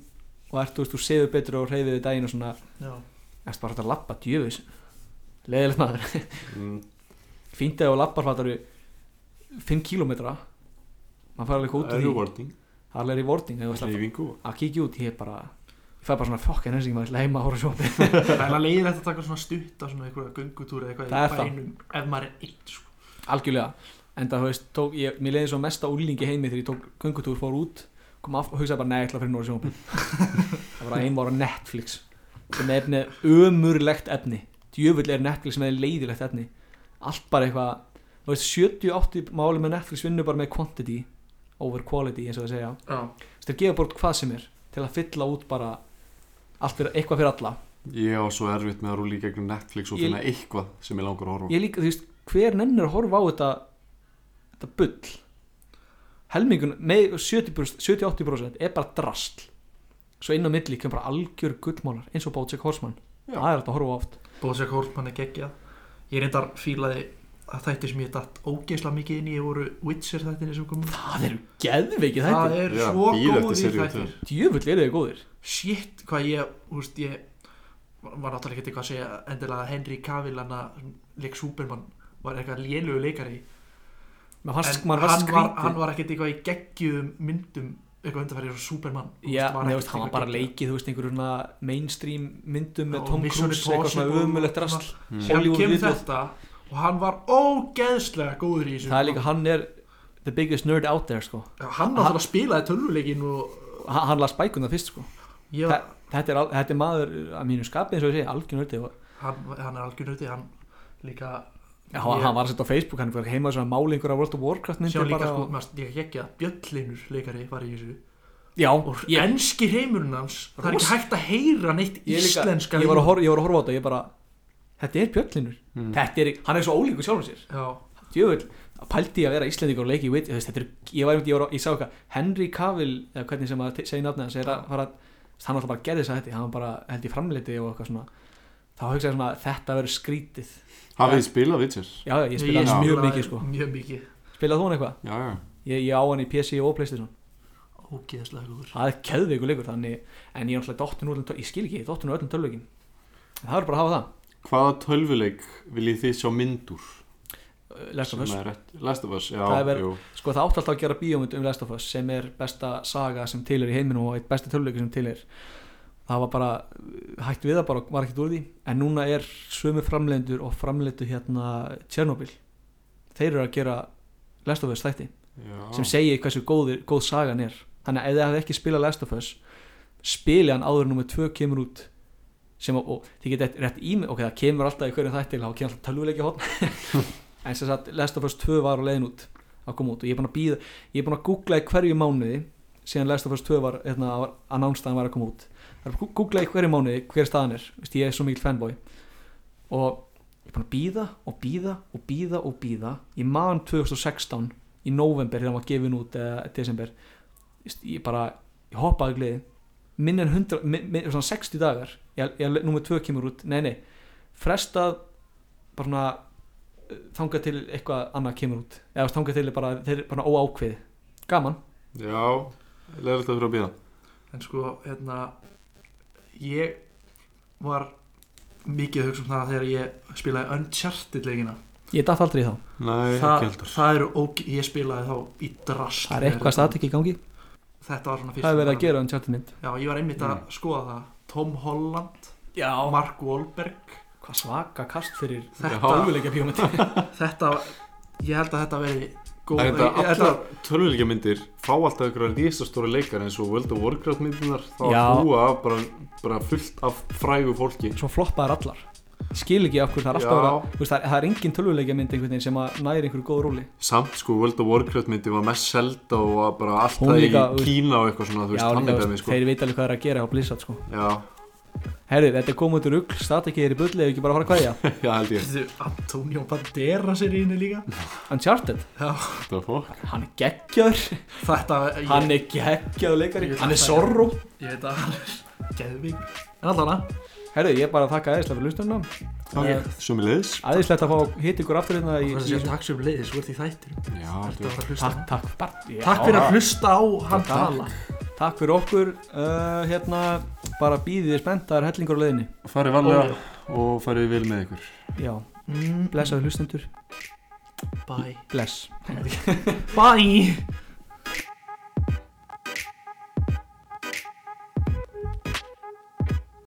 Og ert, þú veist, þú sefur betur og hreyfið við daginn og svona já, Erst bara út að labba djöfis Leðilegt maður mm. Fínt eða labbar fattaru 5 kílómetra Maður fær alveg út úr Það er því rewarding Það er alveg rewarding þegar þú ætlar Hreyfingu að kíkja út Ég er bara, ég fæ bara svona fokk en ennsi Ég maður ætla heima að horfa sjópi það er alveg leiðilegt að taka svona stutta svona einhverja göngutúra eða Það er eitthvað í það. bænum ef maður er einn sko. Algjörlega, en það veist, tók ég, Mér leiði svo mesta úlingi heimi þegar ég tók göngutúr Fór út, kom af og hugsaði bara Nei, ég ætla að fyrir norður sjópi Það var að heima var á Netflix Sem er efnið ömurlegt efni Djöfull er Netflix með leiðilegt efni Allt bara eitthvað þú veist, 70-80 máli með Netflix vinnur bara með quantity over quality eins og það segja já, Þess að gefa bort hvað sem er til að fylla út bara allt fyrir, eitthvað fyrir alla Ég á svo erfitt með að rúli í gegnum Netflix og Ég- finna eitthvað sem ég langar að horfa á. ég líka, þú veist, hver nennir að horfa á þetta þetta bull helmingun, nei 70%, 70-80% er bara drastl svo inn á milli kemur bara algjör gullmálar eins og Bótsek Horsman, Já. það er þetta að horfa á oft Bóðsjök Hólmann er geggjað ég reyndar fílaði að þættir sem ég datt ógeisla mikið inn í voru Witcher þættir sem komum það eru geðvikið það þetta, er Já, svo bíð eftir góðir seríu tvö. þættir djöfull eru þið góðir shit hvað ég, þú veist, ég var var náttúrulega ekki eitthvað að segja endilega að Henry Cavill hann að leik Superman var eitthvað lélugu leikari Mér fannst, en maður fannst hann var, skrítið hann var ekkert eitthvað í geggjum myndum eitthvað undarfærið frá Superman þú veist, Já, var nei, þú ekkert veist, hann var eitthvað bara geggjað. leikið, þú veist, einhverjum svona mainstream myndum Já, með Tom Mission Cruise, eitthvað svona Impossible umulegt og drasl síðan Hollywood kemur viðbjóð. þetta og hann var ógeðslega góður í þessu Það er líka, hann er the biggest nerd out there, sko Já, hann náttúrulega spilaði tölvuleikin og Hann, hann las bækuna fyrst, sko ég, Þa- þetta er, al- þetta er maður að mínu skapi eins og ég segi, algjör nördi og hann, hann er algjör nöti hann líka Já, hann, Ég- hann var að setja á Facebook, hann var heima svona máli einhverja World of Warcraft sjá myndir líka bara sko, og, maður- ég ekki að Bjöllinur leikari var í þessu Já, og ég, enski heimurinn hans það er Ros- ekki hægt að heyra neitt ég, líka, íslenska ég, var í- að horfa, ég var að horfa á þetta, ég bara Þetta er bjöllinur Mm. Þetta er, hann er svo ólíkur sjálfum sér já, Djöfull, pældi ég að vera Íslendingur og leiki í Witcher, þú veist, þetta er, ég var, einmitt- ég var að- ég sá eitthvað Henry Cavill, eða hvernig sem að te- segja nafnið hans er að fara, hann alltaf bara gerði þess að þetta hann var bara held í framleiti og eitthvað svona þá hugsaði ég svona, þetta verður skrítið Hafið þið spilað Witcher? Já, já, ég spilaði Já. hans mjög spilaði mikið sko mjög mikið, Spilaði hún eitthvað? Já, já. Ég, ég á hann í PC og Playstation ógeðslega góður það er keðveikur leikur þannig, en ég er náttúrulega dottinu öllum, töl- ég skil ekki, dottinu öllum tölvökin það er bara að hafa það, Hvaða tölvuleik viljið þið sjá myndur? Uh, Last of Us Sem er rétt- Last of Us, já, Það er verið- jú. sko það átti alltaf að gera bíómynd um Last of Us sem er besta saga sem til er í heiminum og eitt besti tölvöki sem til er það var bara, uh, hægt við það bara og var ekkert úr því, en núna er sömu framleidendur og framleidu hérna Tjernobyl, þeir eru að gera Last of Us þætti Já. sem segir hversu góðir, góð sagan er þannig að ef þið hafið ekki spilað Last of Us spili hann áður nummer 2 kemur út sem að, og þið getið rétt ímið, ok það kemur alltaf í hverjum þættil þá kemur alltaf tölvuleikja hótt en sem sagt Last of Us 2 var á leiðin út að koma út og ég er búin að býða ég er búin að googla í hverju mánuði síðan Last of Us 2 var, hérna, var annánstaðan var að koma út það er bara að googla í hverju mánuði hver staðan er, Vist, ég er svo mikil fanboy og ég er búin að býða og býða og býða og býða í maðan 2016 í november þegar hann var gefin út eða desember Veist, ég bara, ég hoppaði gleði minn en 100, minn, minn, svona 60 dagar ég, ég, nummer 2 kemur út, nei nei frestað bara svona eh, þangað til eitthvað annað kemur út eða þú veist, þangað til er bara, þeir eru bara óákveð gaman, Já, leður þetta fyrir að býða. en sko, hérna ég var mikið að hugsa um það þegar ég spilaði Uncharted leikina ég datt aldrei í þá Nei, það, ekki heldur. það eru óge... ég spilaði þá í drast það er eitthvað statik í gangi, þetta var svona fyrst það er verið að gera um tjartinmynd já, ég var einmitt Mm. að skoða það Tom Holland, já, Mark Wahlberg hvað svaka kast fyrir þetta, áhuguleika bíómynd þetta ég held að þetta veri góð Það er þetta Sko, ég- allar tölvuleikja myndir fá alltaf einhverja risastóra leikar eins og World of Warcraft myndirnar þá Já. hrúa af bara, bara fullt af frægu fólki. svo floppaðar allar Ég skil ekki af hverju það er alltaf Já. að vera þú veist, það, er, það er engin tölvuleikja mynd einhvern veginn sem að næri einhverju góð rúli Samt sko World of Warcraft myndi var mest selda og var bara alltaf Hún líka, í Kína og eitthvað svona, þú veist, líka, hann er veist, dæmi sko. þeir veit alveg hvað það er að gera á Blizzard sko. Já, Herri, þetta er komið út úr rugl, start ekki þér í bulli ef ekki bara að fara að kvæðja Já, held ég Þetta er Antonio Banderas er í henni líka Uncharted, Þetta er fólk hann er geggjaður Þetta, ég, Hann er geggjaður leikari, Ég- hann er sorró ég veit að hann er geðvig En allavega, Herri, ég er bara að þakka æðislega fyrir hlustunum Ég- Sumulegis Æðislega að fá hitt ykkur aftur hérna í, hvað er í, þessi takk sem leiðis, þú ert í þættir Já, Ertu að þetta fara að hlusta Takk, takk, bara, já, Takk fyrir að hlusta á Takk. hann tala Takk fyrir okkur, uh, hérna, bara býðið spenntar hellingur á leiðinni er Farið varlega og farið vel með ykkur Já, Mm, blessaður hlustendur, Bye bless Bye